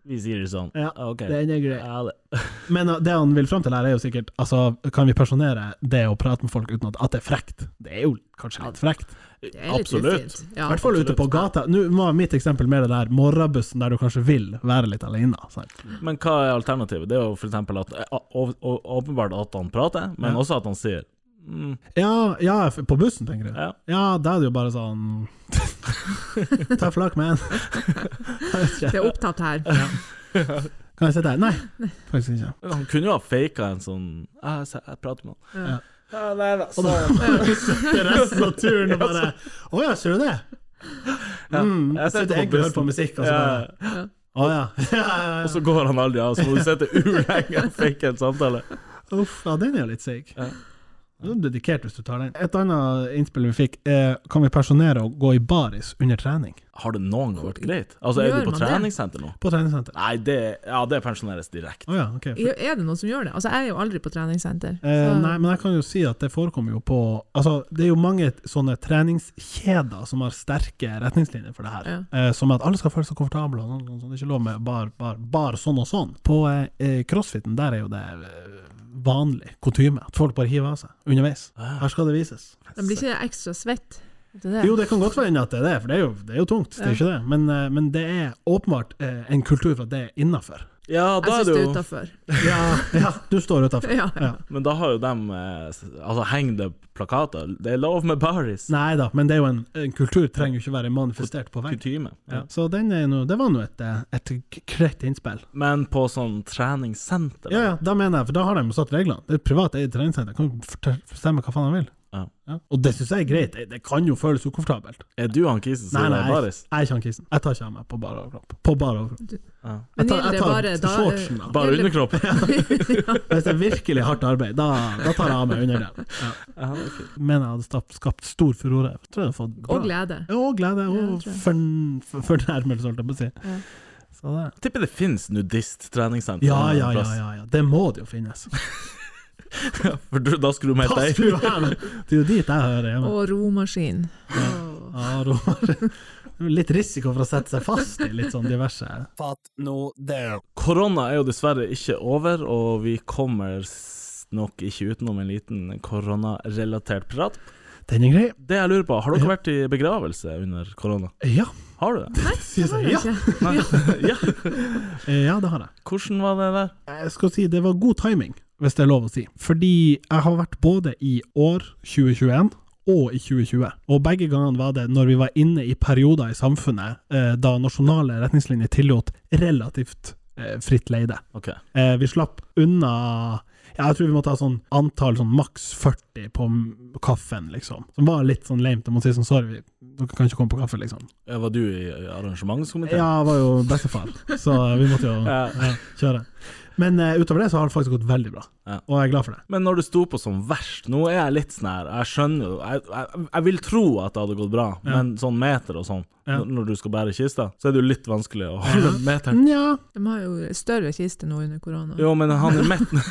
Speaker 5: Vi sier det sånn.
Speaker 4: Ja,
Speaker 5: ok.
Speaker 4: Den er grei.
Speaker 5: Ja, det.
Speaker 4: Men uh, det han vil fram til her, er jo sikkert altså, Kan vi personere det å prate med folk uten at, at det er frekt? Det er jo kanskje litt frekt.
Speaker 6: Det er litt
Speaker 5: Absolutt.
Speaker 6: ufint.
Speaker 4: I
Speaker 6: Ja.
Speaker 4: hvert fall ute på gata. Nå var mitt eksempel mer det der morgenbussen der du kanskje vil være litt alene. Sant?
Speaker 5: Men hva er alternativet? Det er jo for eksempel at å- å- å- eh, Åpenbart at han prater, men
Speaker 4: Ja.
Speaker 5: også at han sier «Mm,
Speaker 4: Ja, ja, f- på bussen, tenker du?
Speaker 5: Ja.
Speaker 4: Ja, da er det jo bare sånn Tough luck, man.
Speaker 6: Det er opptatt her.
Speaker 4: Kan jeg sitte her? Nei, faktisk ikke.
Speaker 5: Han kunne jo ha faka en sånn «Ah, se, Jeg prater med han.
Speaker 4: Og da sitter resten av turen og bare Å ja, altså. ser du det? Mm,
Speaker 5: jeg sitter på
Speaker 4: egentlig og hører
Speaker 5: bussen.
Speaker 4: på musikk, altså. og så
Speaker 5: Ja.
Speaker 4: bare Å ja. ja, ja,
Speaker 5: Og så går han aldri av, så må du sitte ulenge og fake en samtale.
Speaker 4: ja. Uff, ja, den er jo litt seig.
Speaker 5: Ja.
Speaker 4: Du er dedikert hvis du tar den. Et annet innspill vi fikk, er kan vi pensjonere og gå i baris under trening?
Speaker 5: Har det noen gang vært greit? Altså, er
Speaker 6: Gjør
Speaker 5: du på
Speaker 6: man det?
Speaker 5: treningssenter nå?
Speaker 4: På treningssenter.
Speaker 5: Nei, det, ja, det pensjoneres direkte.
Speaker 4: Å ja, ok.
Speaker 6: Ja, Er det noen som gjør det? Altså, jeg er jo aldri på treningssenter.
Speaker 4: Eh,
Speaker 6: så-
Speaker 4: nei, men jeg kan jo si at det forekommer jo på Altså, det er jo mange t- sånne treningskjeder som har sterke retningslinjer for det her. Eh, som at alle skal føle seg komfortable, og sånn, sånn, sånn. det er ikke lov med bar, bar, bar sånn og sånn. På eh, eh, crossfiten, der er jo det eh, vanlig kutyme at folk bare hiver av seg underveis. Her skal det vises.
Speaker 5: Ah,
Speaker 6: De blir ikke ekstra svett? Det er det.
Speaker 4: Jo, det kan godt være at det er det, for det er jo, det er jo tungt, det er ikke det. Men, eh, men det er åpenbart eh, en kultur for at det er innafor.
Speaker 5: Ja,
Speaker 6: jeg syns
Speaker 5: da er det
Speaker 6: det er
Speaker 5: jo
Speaker 6: utafor.
Speaker 4: Ja, ja, du står utafor.
Speaker 6: Ja.
Speaker 4: Ja.
Speaker 5: Men da har jo dem eh, s- Altså, henger det plakater? Det er lov med baris.
Speaker 4: Nei da, men det er jo en, en kultur trenger jo ikke være manifestert på veggen.
Speaker 5: Kutyme. Ja.
Speaker 4: Ja. Så den er noe, det var nå et, eh, et greit innspill.
Speaker 5: Men på sånn treningssenter
Speaker 4: Ja, ja, da mener jeg, for da har de jo satt reglene. Det er et privat eid treningssenter, kan jo fortel- bestemme hva faen de vil.
Speaker 5: Ja.
Speaker 4: Og det syns jeg er greit, det, det kan jo føles ukomfortabelt.
Speaker 5: Er du han kisen som
Speaker 4: Nei, nei,
Speaker 5: er
Speaker 4: jeg,
Speaker 5: baris?
Speaker 4: jeg er ikke han kisen. Jeg tar ikke av meg på bar overkropp. På bar overkropp.
Speaker 6: Men
Speaker 4: Jeg tar,
Speaker 6: gjelder
Speaker 4: jeg
Speaker 6: det bare
Speaker 4: tar
Speaker 6: da
Speaker 4: shortsen, da.
Speaker 5: Bare
Speaker 6: Gjelder-
Speaker 5: underkropp?
Speaker 4: Hvis det er virkelig hardt arbeid, da, da tar jeg av meg underdelen. Ja. Mener jeg hadde skapt, skapt stor furore. Jeg Tror jeg hadde fått bra.
Speaker 6: Og glede.
Speaker 4: Ja, og glede,
Speaker 6: Ja,
Speaker 4: og
Speaker 6: tror jeg.
Speaker 4: forn- for- fornærmelse, holdt jeg på å si. Så det
Speaker 5: Tipper det fins nudisttreningssenter.
Speaker 4: Ja,
Speaker 5: en
Speaker 4: ja, ja,
Speaker 5: plass.
Speaker 4: ja, ja. Det må det jo finnes.
Speaker 5: For du, da skulle du med
Speaker 4: Pass
Speaker 5: deg.
Speaker 4: du her! Det er jo dit jeg hører hjemme.
Speaker 6: Og romaskin. Åh.
Speaker 4: Ja, Roar. Litt risiko for å sette seg fast i litt sånn diverse
Speaker 7: Fatt nå det.
Speaker 5: Korona er jo dessverre ikke over, og vi kommer s- nok ikke utenom en liten koronarelatert prat.
Speaker 4: Den er grei.
Speaker 5: Det jeg lurer på, har dere vært i begravelse under korona?
Speaker 4: Ja,
Speaker 5: Har du det?
Speaker 4: sier jeg. Ja.
Speaker 6: Ikke?
Speaker 5: Ja.
Speaker 4: Eh, ja, det har jeg.
Speaker 5: Hvordan var det der?
Speaker 4: Jeg skal si det var god timing, hvis det er lov å si. Fordi jeg har vært både i år 2021 og i 2020. Og begge gangene var det når vi var inne i perioder i samfunnet eh, da nasjonale retningslinjer tillot relativt eh, fritt leide.
Speaker 5: Ok.
Speaker 4: Eh, vi slapp unna ja, Jeg tror vi måtte ha sånn antall sånn maks 40 på m- kaffen, liksom. Som var litt sånn lame. Jeg må si sånn sorry, vi- dere kan ikke komme på kaffe, liksom.
Speaker 5: Eh, Var du i arrangementskomiteen?
Speaker 4: Ja, jeg var jo bestefar, så vi måtte jo
Speaker 5: Ja.
Speaker 4: ja, kjøre. Men eh, utover det så har det faktisk gått veldig bra,
Speaker 5: Ja.
Speaker 4: og jeg er glad for det.
Speaker 5: Men når du sto på som verst Nå er jeg litt sånn her, jeg skjønner jo Jeg, jeg, jeg vil tro at det hadde gått bra, men sånn meter og sånn,
Speaker 4: Ja.
Speaker 5: når- når du skal bære kista, så er det jo litt vanskelig å holde meteren.
Speaker 4: Nja,
Speaker 6: De har jo større kiste nå under korona.
Speaker 5: Jo, men han i midten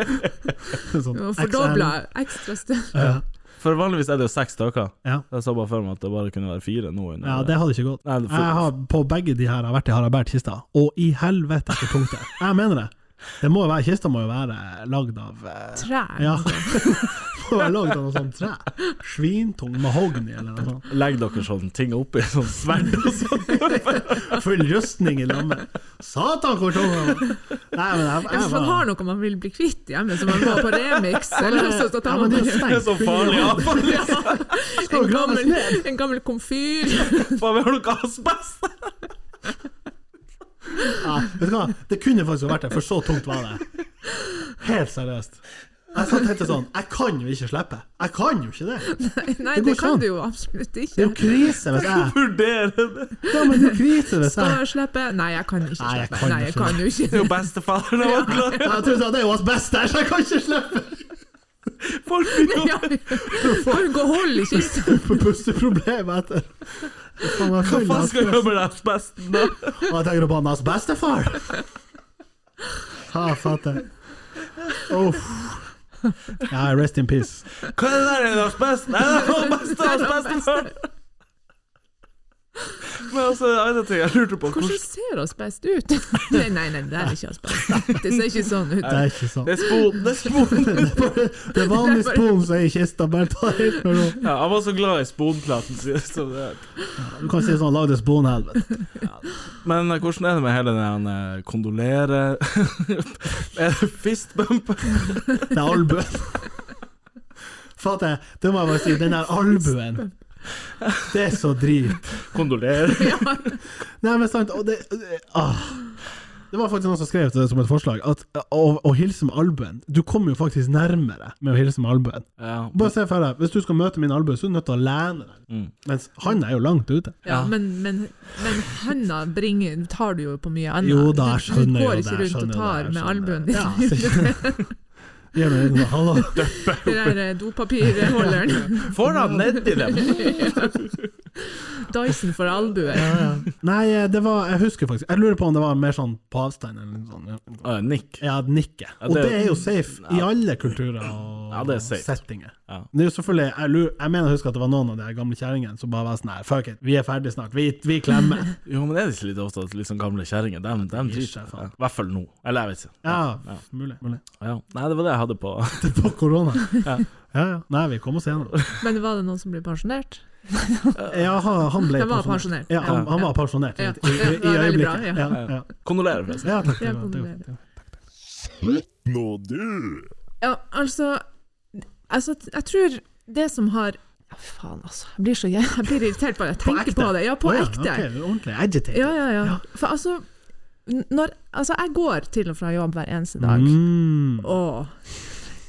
Speaker 4: sånn
Speaker 6: Og
Speaker 4: XL.
Speaker 6: Fordobla ekstra større.
Speaker 4: Ja,
Speaker 5: For vanligvis er det jo seks stykker.
Speaker 4: Ja.
Speaker 5: Jeg så bare for meg at det bare kunne være fire nå. under-
Speaker 4: ja, det hadde ikke gått.
Speaker 5: Nei, for,
Speaker 4: Jeg har på begge de her har vært i Harabert kista, og i helvete ikke punktet. Jeg mener det. Det må jo være, Kista må jo være lagd av eh,
Speaker 6: Trær.
Speaker 4: Ja. Må være lagd av noe sånt tre. Svintung mahogni eller noe sånt.
Speaker 5: Legg dere sånn ting oppi, sånn sverd og sånn.
Speaker 4: Full rustning i lammet. Satan, hvor tung den var! Nei, men jeg,
Speaker 6: Ja,
Speaker 4: jeg,
Speaker 6: hvis man har noe man vil bli kvitt hjemme, så man må på remix eller så,
Speaker 4: ja,
Speaker 6: så tar
Speaker 4: men
Speaker 6: man
Speaker 4: det er jo
Speaker 6: på remix.
Speaker 5: Det er så
Speaker 4: stengt.
Speaker 5: farlig avfall!
Speaker 6: en, gammel, en gammel komfyr.
Speaker 5: Faen, vi har noe asbest!
Speaker 4: Ja, vet du hva? Det kunne faktisk vært det, for så tungt var det. Helt seriøst. Jeg satt og tenkte sånn Jeg kan jo ikke slippe. Jeg kan jo ikke det.
Speaker 6: Nei,
Speaker 4: Det går
Speaker 6: det
Speaker 4: ikke an.
Speaker 6: kan du jo absolutt
Speaker 4: Det er
Speaker 6: ikke.
Speaker 4: jo krise hvis jeg
Speaker 5: Vurdere det!
Speaker 4: Ja, men det er jo krise hvis
Speaker 6: Skal
Speaker 4: jeg
Speaker 6: jeg slippe? Nei, jeg kan ikke
Speaker 4: Nei, jeg
Speaker 6: slippe.
Speaker 4: kan
Speaker 6: Nei, jeg
Speaker 4: ikke.
Speaker 6: kan jo
Speaker 5: Det
Speaker 6: ikke.
Speaker 5: er jo bestefaren av Aglar!
Speaker 4: Ja, Jeg trodde at det var best der, så jeg kan ikke slippe!
Speaker 5: Folk blir jo
Speaker 6: Ja. Kan gå og holde i kista.
Speaker 4: Får pusteproblemer etter. Faen, jeg er
Speaker 5: Hva
Speaker 4: full av
Speaker 5: faen skal
Speaker 4: stress.
Speaker 5: jeg gjøre med den asbesten, da?
Speaker 4: Og jeg tenker på hans bestefar! Ha, fatter. Uff. Ja, rest in peace.
Speaker 5: Hva er det der igjen? Asbest? Nei, det var asbest, det var asbest før! Men altså, en annen ting jeg lurte på
Speaker 6: Hvordan ser oss best ut? Nei, nei, nei, det er ikke oss best. Det ser ikke sånn ut.
Speaker 4: Det er ikke sånn.
Speaker 5: Det er spon, det er spon!
Speaker 4: Det er vanlig spon som er i kista, bare ta helt med ro.
Speaker 5: Ja, jeg var så glad i sponplaten. så det-
Speaker 4: Du kan si sånn, lag det sponhelvete.
Speaker 5: Men eh, hvordan er det med hele den eh, kondolere Er det fistbump?
Speaker 4: Det er albuen. Fatter jeg, det må jeg bare si, den der albuen. Det er så drit.
Speaker 5: Kondolerer.
Speaker 4: Nei, men sant, og det, det ah. Det var faktisk noen som skrev til det som et forslag, at å, å hilse med albuen Du kommer jo faktisk nærmere med å hilse med albuen.
Speaker 5: Ja.
Speaker 4: Bare se for deg, hvis du skal møte min albue, så er du nødt til å lene deg. Mens han er jo langt ute.
Speaker 6: Ja, men, men, men handa bringer, tar du jo på mye annet.
Speaker 4: Jo da, jeg
Speaker 6: Du-
Speaker 4: skjønner
Speaker 6: Du
Speaker 4: jo
Speaker 6: går
Speaker 4: det,
Speaker 6: ikke
Speaker 4: jeg
Speaker 6: rundt og
Speaker 4: skjønner
Speaker 6: tar
Speaker 4: det, jeg
Speaker 6: med
Speaker 4: skjønner
Speaker 6: albuen
Speaker 4: det.
Speaker 6: din.
Speaker 4: Ja, Gi meg en sånn, hallo.
Speaker 6: Den der eh, dopapirholderen.
Speaker 5: Får han nedi dem?
Speaker 6: Dyson for albue.
Speaker 4: Nei, eh, det var Jeg husker faktisk Jeg lurer på om det var mer sånn på avstand eller noe sånt. ja.
Speaker 5: Ah, Nick.
Speaker 4: Ja, nikket. Og
Speaker 5: det-
Speaker 4: det er jo safe i alle kulturer og
Speaker 5: Ja, det er safe.
Speaker 4: settinger.
Speaker 5: Ja.
Speaker 4: Det er jo selvfølgelig Jeg, lurer, jeg mener jeg husker at det var noen av de her gamle kjerringene som bare var sånn her Fuck it, vi er ferdig snart. Vi, vi klemmer.
Speaker 5: Jo, men er det ikke litt ofte at liksom gamle kjerringer dem, dem
Speaker 4: Gir seg
Speaker 5: driter seg?
Speaker 4: faen.
Speaker 5: I hvert fall nå. Eller jeg vet ikke.
Speaker 4: Ja, f- mulig. mulig.
Speaker 5: Ja. Nei, det var det jeg hadde på.
Speaker 4: På korona. Ja, ja. Nei, vi kom oss gjennom.
Speaker 6: Men var det noen som ble pensjonert?
Speaker 4: Ja, han, han ble
Speaker 6: Han var pensjonert.
Speaker 4: Ja, han,
Speaker 6: Ja.
Speaker 4: han var pensjonert i,
Speaker 6: Ja.
Speaker 4: i, i,
Speaker 6: Ja, det var
Speaker 4: i
Speaker 6: veldig bra,
Speaker 4: øyeblikket. Ja,
Speaker 6: ja.
Speaker 4: ja.
Speaker 5: Kondolerer, forresten.
Speaker 4: ja takk.
Speaker 6: Ja,
Speaker 4: det var- det var-
Speaker 6: kondolerer.
Speaker 4: ja.
Speaker 6: Ja, altså, altså Jeg tror det som har ja, Faen, altså. Jeg blir så jæ- jeg blir irritert bare jeg tenker på det. Ja, på
Speaker 4: Å, ja,
Speaker 6: ekte.
Speaker 4: ok, ordentlig agitated.
Speaker 6: Ja, ja, ja. For altså, n- når, altså Jeg går til og fra jobb hver eneste dag,
Speaker 4: Mm.
Speaker 6: og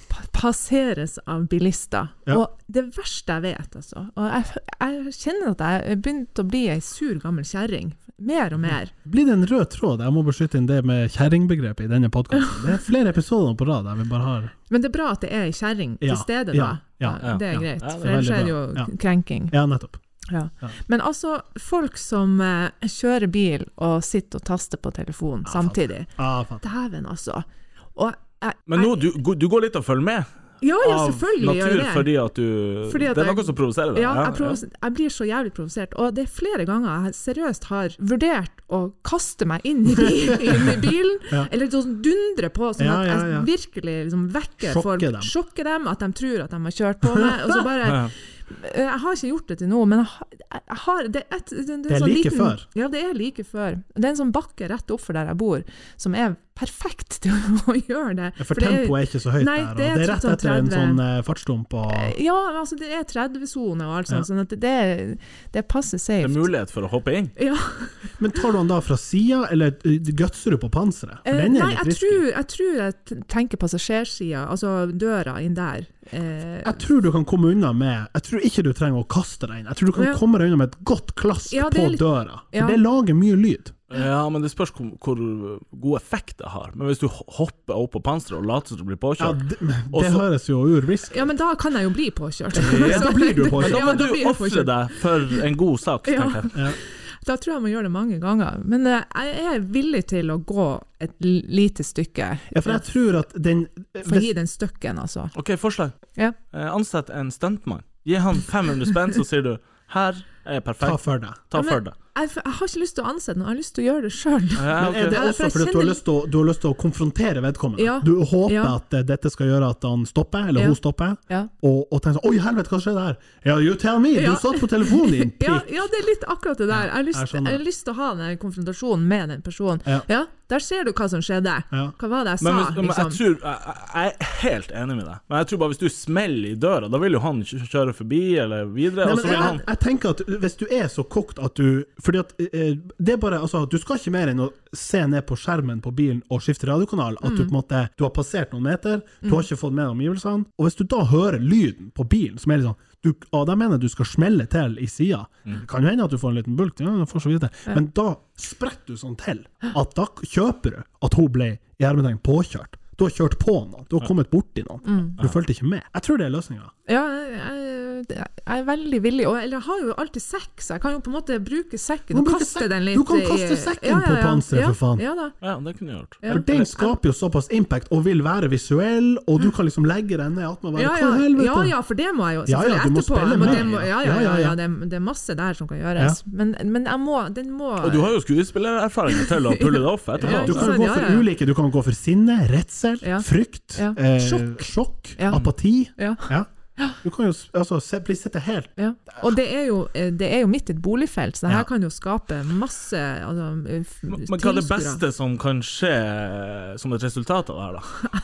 Speaker 6: pa- passeres av bilister.
Speaker 4: Ja.
Speaker 6: Og det verste jeg vet, altså Og jeg, f- jeg kjenner at jeg er begynt å bli ei sur gammel kjerring.
Speaker 4: Mm.
Speaker 6: Mer og mer.
Speaker 4: Blir det en rød tråd? Jeg må beskytte inn det med kjerringbegrepet i denne podkasten. Det er flere episoder på rad der vi bare har
Speaker 6: Men det er bra at det er ei kjerring
Speaker 4: Ja,
Speaker 6: til stede,
Speaker 4: ja,
Speaker 6: da.
Speaker 4: ja,
Speaker 6: det er
Speaker 4: ja.
Speaker 6: greit,
Speaker 5: Ja, det er
Speaker 6: for
Speaker 4: veldig
Speaker 6: ellers er det jo
Speaker 4: bra. Ja.
Speaker 6: krenking.
Speaker 4: Ja, nettopp.
Speaker 6: Ja.
Speaker 4: Ja.
Speaker 6: Men altså, folk som eh, kjører bil og sitter og taster på telefonen samtidig.
Speaker 4: Ah, faen.
Speaker 6: Dæven, altså. Og jeg,
Speaker 5: Men nå,
Speaker 6: jeg-
Speaker 5: du, du går litt og følger med
Speaker 6: Ja, ja,
Speaker 5: av
Speaker 6: selvfølgelig gjør
Speaker 5: natur
Speaker 6: jeg det.
Speaker 5: fordi at du
Speaker 6: Fordi at
Speaker 5: Det er
Speaker 6: jeg-
Speaker 5: noe som provoserer deg?
Speaker 6: Ja, jeg, provos- jeg blir så jævlig provosert, og det er flere ganger jeg seriøst har vurdert å kaste meg inn i, bil, inn i bilen, eller sånn dundre på, sånn
Speaker 4: Ja,
Speaker 6: at
Speaker 4: ja,
Speaker 6: jeg
Speaker 4: ja.
Speaker 6: virkelig liksom vekker
Speaker 4: Sjokke
Speaker 6: folk,
Speaker 4: dem.
Speaker 6: sjokker dem, at de tror at de har kjørt på meg, og så bare Eh,
Speaker 5: Ja.
Speaker 6: Jeg har ikke gjort det til nå, men jeg har, jeg har det, er et, det, det,
Speaker 4: Det er
Speaker 6: sånn
Speaker 4: like
Speaker 6: liten,
Speaker 4: før.
Speaker 6: Ja, det er like før. Det er en sånn bakke rett opp for der jeg bor, som er perfekt til å gjøre det.
Speaker 4: Ja, For
Speaker 6: det er-
Speaker 4: tempoet er ikke så høyt
Speaker 6: Nei,
Speaker 4: der, og
Speaker 6: det
Speaker 4: det
Speaker 6: er
Speaker 4: er, rett
Speaker 6: sånn
Speaker 4: etter en
Speaker 6: 30.
Speaker 4: sånn eh, fartsdump og
Speaker 6: Ja, altså det er 30-sone og alt sånt,
Speaker 4: Ja.
Speaker 6: sånn at det, det passer safe.
Speaker 5: Det er mulighet for å hoppe inn?
Speaker 6: Ja.
Speaker 4: Men tar du han da fra sida, eller eh, gutser du på panseret? For
Speaker 6: Eh,
Speaker 4: den er
Speaker 6: Nei,
Speaker 4: litt
Speaker 6: jeg
Speaker 4: risky.
Speaker 6: tror, jeg tror jeg t- tenker passasjersida, altså døra inn der. Eh,
Speaker 4: Jeg tror du kan komme unna med Jeg tror ikke du trenger å kaste deg inn. Jeg tror du kan
Speaker 6: Ja.
Speaker 4: komme deg unna med et godt klask
Speaker 6: Ja, det
Speaker 4: på
Speaker 6: er litt-
Speaker 4: døra. For
Speaker 6: Ja.
Speaker 4: det lager mye lyd.
Speaker 5: Ja, men det spørs hvor, hvor god effekt det har. Men hvis du ho- hopper opp på panseret og later som du blir
Speaker 4: Ja,
Speaker 5: påkjørt
Speaker 4: det,
Speaker 5: Og
Speaker 4: det
Speaker 5: så-
Speaker 4: høres jo ur-risky.
Speaker 6: ja, men da kan jeg jo bli påkjørt.
Speaker 4: Ja, da blir du påkjørt.
Speaker 5: Da
Speaker 6: Ja, men
Speaker 5: må du
Speaker 6: blir jeg
Speaker 5: ofre
Speaker 6: påkjørt.
Speaker 5: deg for en god sak,
Speaker 6: Ja.
Speaker 5: tenker jeg.
Speaker 6: Da tror jeg man gjør det mange ganger. Men eh, jeg er villig til å gå et l- lite stykke
Speaker 4: Ja, for jeg tror at den
Speaker 6: for å gi den støkken, altså.
Speaker 5: OK, forslag.
Speaker 6: Ja.
Speaker 5: Eh, ansett en stuntmann. Gi han 500 spenn, så sier du 'her er jeg
Speaker 4: Ta
Speaker 5: perfekt,
Speaker 4: for deg.
Speaker 5: ta
Speaker 6: Ja, men-
Speaker 5: for deg'.
Speaker 6: Jeg, f- jeg har ikke lyst til å ansette noen, jeg har lyst til å gjøre det sjøl.
Speaker 5: Ja, ok.
Speaker 4: Men er det
Speaker 6: Ja, for
Speaker 4: også
Speaker 6: jeg
Speaker 4: fordi at du har,
Speaker 6: kjenner-
Speaker 4: lyst til å, du har lyst til å konfrontere vedkommende?
Speaker 6: Ja.
Speaker 4: Du håper
Speaker 6: Ja.
Speaker 4: at eh, dette skal gjøre at han stopper, eller
Speaker 6: Ja.
Speaker 4: hun stopper,
Speaker 6: Ja.
Speaker 4: og, og tenker sånn Oi, helvete, hva skjedde her? Ja, you tell me!
Speaker 6: Ja.
Speaker 4: Du satt på telefonen din!
Speaker 6: Ja,
Speaker 4: pikk.
Speaker 6: ja, det er litt akkurat det der. Jeg har lyst,
Speaker 4: jeg skjønner.
Speaker 6: jeg har lyst til å ha den konfrontasjonen med den personen.
Speaker 4: Ja.
Speaker 6: Ja. der ser du hva som skjedde.
Speaker 4: Ja.
Speaker 6: Hva var det jeg sa,
Speaker 5: Men, hvis, men jeg,
Speaker 6: liksom?
Speaker 5: tror, jeg, jeg- jeg er helt enig med deg, men jeg tror bare hvis du smeller i døra, da vil jo han kjø- kjøre forbi eller videre.
Speaker 4: Nei,
Speaker 5: og
Speaker 4: men
Speaker 5: så vil
Speaker 4: jeg,
Speaker 5: han
Speaker 4: jeg tenker at hvis du er så kokt at du Fordi at eh, det er bare Altså, du skal ikke mer enn å se ned på skjermen på bilen og skifte radiokanal. At du
Speaker 5: Mm.
Speaker 4: på en måte Du har passert noen meter, du har ikke fått med deg omgivelsene. Og hvis du da hører lyden på bilen, som er litt sånn du, og da mener jeg du skal smelle til i sida.
Speaker 5: Mm.
Speaker 4: Det Kan jo hende at du får en liten bulk, ja, du får så vidt det. men da spretter du sånn til at da kjøper du at hun ble i hermetegn påkjørt. Du har kjørt på noen, du har kommet borti noen.
Speaker 5: Mm.
Speaker 4: Du fulgte ikke med. Jeg tror det er løsninga.
Speaker 6: Ja, jeg, jeg jeg er veldig villig, og eller jeg har jo alltid sekk, så jeg kan jo på en måte bruke
Speaker 4: Du
Speaker 6: sekken og
Speaker 4: bruker
Speaker 6: kaste
Speaker 4: sekk-
Speaker 6: den litt.
Speaker 4: du kan
Speaker 6: i-
Speaker 4: kaste sekken
Speaker 6: Ja,
Speaker 4: på
Speaker 6: ja, ja.
Speaker 4: panseret,
Speaker 6: ja,
Speaker 4: for faen.
Speaker 6: Ja da.
Speaker 5: Ja, det kunne jeg gjort.
Speaker 6: Ja. Mm.
Speaker 4: For den skaper jo såpass impact og vil være visuell, og du kan liksom legge den ned attmed
Speaker 6: Ja
Speaker 4: hverandre. Hva
Speaker 6: ja,
Speaker 4: i helvete?
Speaker 6: ja ja, for det må jeg jo
Speaker 4: Ja, ja,
Speaker 6: selvfølgelig
Speaker 4: du må
Speaker 6: etterpå.
Speaker 4: spille
Speaker 6: men
Speaker 4: med.
Speaker 6: det må, ja, ja,
Speaker 4: Ja, ja,
Speaker 6: ja,
Speaker 4: ja.
Speaker 6: ja, det, det er masse der som kan gjøres. Men, men jeg må, den må
Speaker 5: Og du har jo skuespillererfaring til å pulle det off etterpå.
Speaker 6: Ja,
Speaker 4: Du
Speaker 6: ikke
Speaker 4: kan
Speaker 6: sant?
Speaker 4: gå
Speaker 6: Ja,
Speaker 4: for
Speaker 6: ja, ja.
Speaker 4: ulike. Du kan gå for sinne, redsel,
Speaker 6: Ja.
Speaker 4: frykt,
Speaker 6: Ja.
Speaker 4: Eh, sjokk,
Speaker 6: Sjokk. Ja.
Speaker 4: apati.
Speaker 6: Ja.
Speaker 4: Ja. Du kan jo s- altså, se, bli sittende helt
Speaker 6: Ja. Og det er, jo, eh, det er jo midt i et boligfelt, så det
Speaker 4: Ja.
Speaker 6: her kan jo skape masse altså, eh, f-
Speaker 5: Men men hva er det
Speaker 6: tilskuere.
Speaker 5: beste som kan skje eh, som et resultat av det her,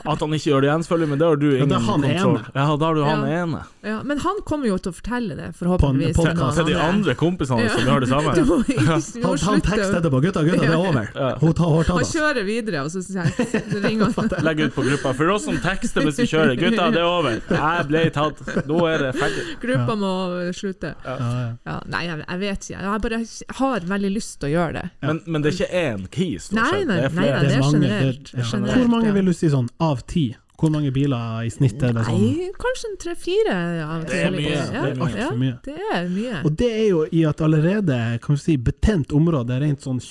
Speaker 5: da? At han ikke gjør det igjen, selvfølgelig, men det har du ingen
Speaker 4: det er han
Speaker 5: kontroll
Speaker 4: ene.
Speaker 5: Ja, da har du han
Speaker 6: Ja.
Speaker 5: ene.
Speaker 6: Ja, men han kommer jo til å fortelle det, forhåpentligvis.
Speaker 4: På en
Speaker 6: til noen
Speaker 4: podcast.
Speaker 5: Til de
Speaker 6: andre.
Speaker 5: andre kompisene
Speaker 6: Ja.
Speaker 5: som gjør det samme.
Speaker 6: Du må ikke- du
Speaker 4: Han,
Speaker 6: må
Speaker 4: han tekster
Speaker 6: slutte å-
Speaker 4: etterpå. Gutta, gutta, det er over. Hun tar hårdt av
Speaker 6: Han
Speaker 4: oss.
Speaker 6: kjører videre, og så sier jeg så ringer han.
Speaker 5: Legg ut på gruppa. For oss som tekster hvis vi kjører. Gutta, det er over. Jeg ble tatt. Nå er det ferdig.
Speaker 6: Gruppa må slutte.
Speaker 4: Ja, ja.
Speaker 6: Ja, nei, jeg, jeg vet ikke. Jeg bare har veldig lyst til å gjøre det.
Speaker 5: Men, men det er ikke én keys. som har
Speaker 6: Nei,
Speaker 5: skjedd.
Speaker 6: nei,
Speaker 5: det er
Speaker 6: nei,
Speaker 5: flere.
Speaker 6: nei det er
Speaker 4: mange,
Speaker 6: generelt.
Speaker 4: det er- ja.
Speaker 6: generelt,
Speaker 4: Hvor mange
Speaker 6: ja.
Speaker 4: vil du si sånn av ti? Hvor mange biler i snitt er det sånn?
Speaker 6: Nei, kanskje en tre-fire. Ja,
Speaker 5: Det er mye,
Speaker 6: Ja,
Speaker 5: det er mye.
Speaker 6: ja,
Speaker 4: Altfor mye.
Speaker 6: det er mye.
Speaker 4: Og det er jo i et allerede kan vi si, betent område, rent sånn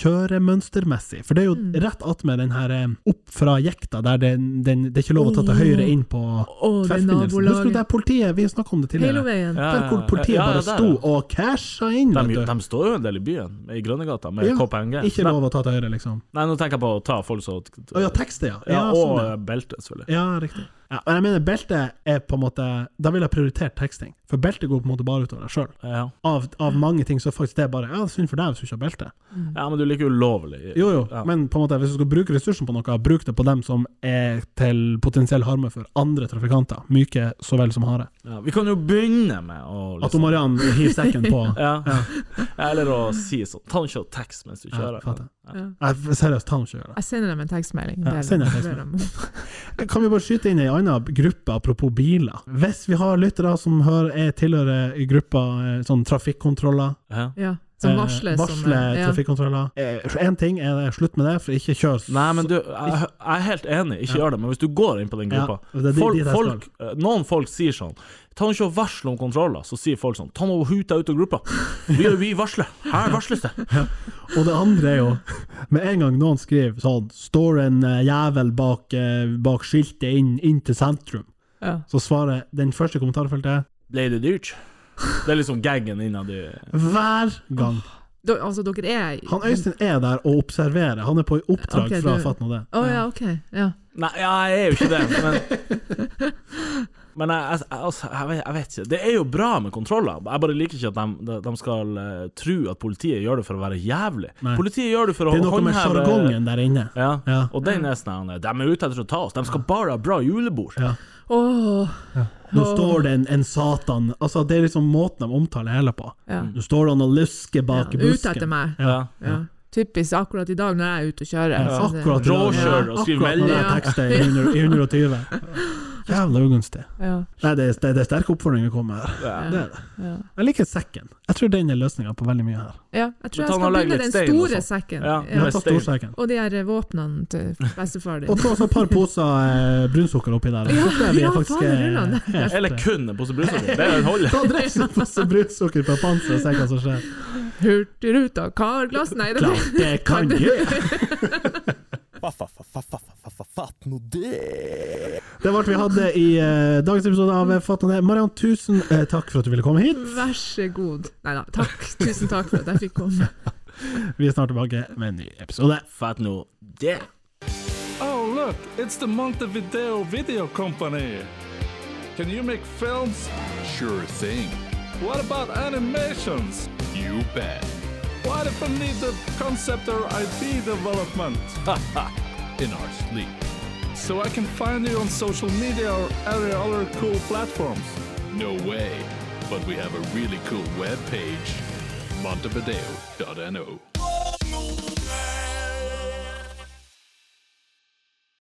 Speaker 4: kjøremønstermessig. For det er jo
Speaker 6: Mm.
Speaker 4: rett attmed den her eh, opp fra jekta, der det, den, det er ikke lov å ta til høyre inn på
Speaker 6: Å, det er
Speaker 4: tverrforbindelsen. Husker du
Speaker 6: nabolaget.
Speaker 4: der politiet, vi snakka om det
Speaker 6: Hele
Speaker 4: tidligere,
Speaker 6: veien.
Speaker 5: Ja,
Speaker 4: der hvor politiet
Speaker 5: ja, ja,
Speaker 4: bare
Speaker 5: der,
Speaker 4: sto
Speaker 5: ja.
Speaker 4: og casha inn? vet
Speaker 5: De,
Speaker 4: du.
Speaker 5: de står jo en del i byen, i Grønnegata, med
Speaker 4: Ja,
Speaker 5: KPMG.
Speaker 4: Ikke
Speaker 5: Nei,
Speaker 4: lov å ta til høyre, liksom.
Speaker 5: nei, nå tenker jeg på å ta folk som
Speaker 4: Å ja, tekster, ja.
Speaker 5: Ja,
Speaker 4: Ja,
Speaker 5: og
Speaker 4: sånn, ja.
Speaker 5: eh, belte, selvfølgelig.
Speaker 4: Ja, riktig. Ja, men jeg mener beltet er på en måte Da vil jeg prioritere teksting, for beltet går på en måte bare utover deg sjøl.
Speaker 5: Ja.
Speaker 4: Av, av mange ting så faktisk det er bare Ja, synd for deg hvis du ikke har belte.
Speaker 5: ja, men du liker ulovlig.
Speaker 4: Jo, jo,
Speaker 5: Ja.
Speaker 4: men på en måte hvis du skal bruke ressursen på noe, bruk det på dem som er til potensiell harme for andre trafikanter, myke så vel som harde.
Speaker 5: Ja, vi kan jo begynne med å
Speaker 4: At hun
Speaker 5: liksom,
Speaker 4: Mariann hiver sekken på
Speaker 5: ja. Eller å si sånn Ta en shot tekst mens du
Speaker 4: ja,
Speaker 5: kjører.
Speaker 4: fatter.
Speaker 5: Ja.
Speaker 4: Nei, seriøst, han ikke gjør det.
Speaker 6: Jeg sender dem en tekstmelding.
Speaker 4: Ja,
Speaker 6: Ber-
Speaker 4: send en
Speaker 6: ber
Speaker 4: tekstmelding.
Speaker 6: dem.
Speaker 4: Kan vi bare skyte inn ei anna gruppe, apropos biler? Hvis vi har lyttere som hører, er tilhører i gruppa eh, sånn trafikkontroller,
Speaker 5: Ja.
Speaker 6: Ja, som
Speaker 4: Eh,
Speaker 6: varsler. som,
Speaker 4: varsle
Speaker 6: eh, ja.
Speaker 4: trafikkontroller. Én ting er det, slutt med det, for ikke kjør s-
Speaker 5: Nei, men du, jeg, jeg er helt enig, ikke gjør det. Men hvis du går inn på den
Speaker 4: Ja,
Speaker 5: gruppa
Speaker 4: det er dit-
Speaker 5: folk,
Speaker 4: dit jeg skal.
Speaker 5: folk, eh, Noen folk sier sånn Ta nå ikke og varsle om kontroller. Så sier folk sånn Ta nå og hut deg ut av gruppa. Vi, vi varsler. Her varsles det.
Speaker 4: Og det andre er jo Med en gang noen skriver sånn Står en eh, jævel bak, eh, bak skiltet inn, inn til sentrum,
Speaker 6: Ja.
Speaker 4: så svarer den første kommentarfeltet
Speaker 5: Ble det dyrt? Det er liksom gaggen innad i
Speaker 4: hver gang.
Speaker 6: Da- Altså, dere er
Speaker 4: Han Øystein er der og observerer. Han er på oppdrag
Speaker 6: Ok,
Speaker 4: fra
Speaker 6: du-
Speaker 4: Fatt nå det.
Speaker 6: Å ja, OK. Ja.
Speaker 5: Nei, ja, jeg er jo ikke det, men Men jeg, jeg, altså, jeg, vet, jeg vet ikke. Det er jo bra med kontroller. Jeg bare liker ikke at de, de, de skal eh, tro at politiet gjør det for å være jævlig.
Speaker 4: Nei.
Speaker 5: Politiet gjør det for å
Speaker 4: Det er noe med
Speaker 5: håndheve-
Speaker 4: sjargongen der inne.
Speaker 5: Ja.
Speaker 4: Ja.
Speaker 5: Og den er sånn De er ute etter å ta oss. De skal bare ha bra julebord.
Speaker 4: Ja.
Speaker 6: Åh,
Speaker 4: Nå står det en, en satan Altså, det er liksom måten de omtaler hele på.
Speaker 6: Ja.
Speaker 4: Nå står han og lusker
Speaker 6: ja.
Speaker 4: bak i
Speaker 6: Ut
Speaker 4: busken.
Speaker 6: etter meg.
Speaker 5: Ja.
Speaker 6: Ja. Typisk akkurat i dag når jeg er ute og kjører.
Speaker 4: Ja,
Speaker 6: så det-
Speaker 4: akkurat
Speaker 5: Råkjør og skriv
Speaker 4: Akkurat når jeg
Speaker 6: melding.
Speaker 4: tekster i 100 i 120. Jævla ugunstig.
Speaker 6: Ja.
Speaker 4: Nei, det er, det er sterke oppfordringer å komme her. Det er det.
Speaker 6: Ja.
Speaker 4: Jeg liker sekken. Jeg tror den er løsninga på veldig mye her.
Speaker 6: ja. Jeg tror
Speaker 5: Men
Speaker 6: jeg
Speaker 5: ta nå og
Speaker 6: skal
Speaker 5: legg
Speaker 6: begynne
Speaker 5: litt
Speaker 6: den
Speaker 5: stein og
Speaker 6: store
Speaker 5: sånt.
Speaker 6: sekken.
Speaker 5: Ja.
Speaker 6: Ja.
Speaker 4: Ja, ta storsekken.
Speaker 6: Og de her våpnene til bestefar din.
Speaker 4: Og ta også et par poser eh, brunsukker oppi der. Så tror jeg vi
Speaker 6: ja,
Speaker 4: er faktisk
Speaker 6: faen, det
Speaker 4: eh,
Speaker 6: ruller han.
Speaker 4: helt
Speaker 5: Eller kun en pose brusåker. Det holder.
Speaker 4: Ta dress
Speaker 6: sånn,
Speaker 4: og masse brunsukker på panseret og se hva som skjer.
Speaker 6: Hurtigruta, karglass Nei, det
Speaker 4: Klart det kan du!
Speaker 7: Fatt nå det!
Speaker 4: Det var alt vi hadde i eh, dagens episode av Fatt og det. Mariann, tusen eh, takk for at du ville komme hit.
Speaker 6: Vær så god. Nei da, takk. Tusen takk for at jeg fikk komme.
Speaker 4: Vi er snart tilbake med en ny episode.
Speaker 5: Fatt nå det.
Speaker 1: Oh, look, it's the Montevideo Video Company. Can you make films?
Speaker 2: Sure thing.
Speaker 1: What about animations?
Speaker 2: You bet.
Speaker 1: What if I need the concept or IP development?
Speaker 2: In our sleep.
Speaker 1: So I can find you on social media or any other cool platforms.
Speaker 2: No way. But we have a really cool web page. Montevideo.no.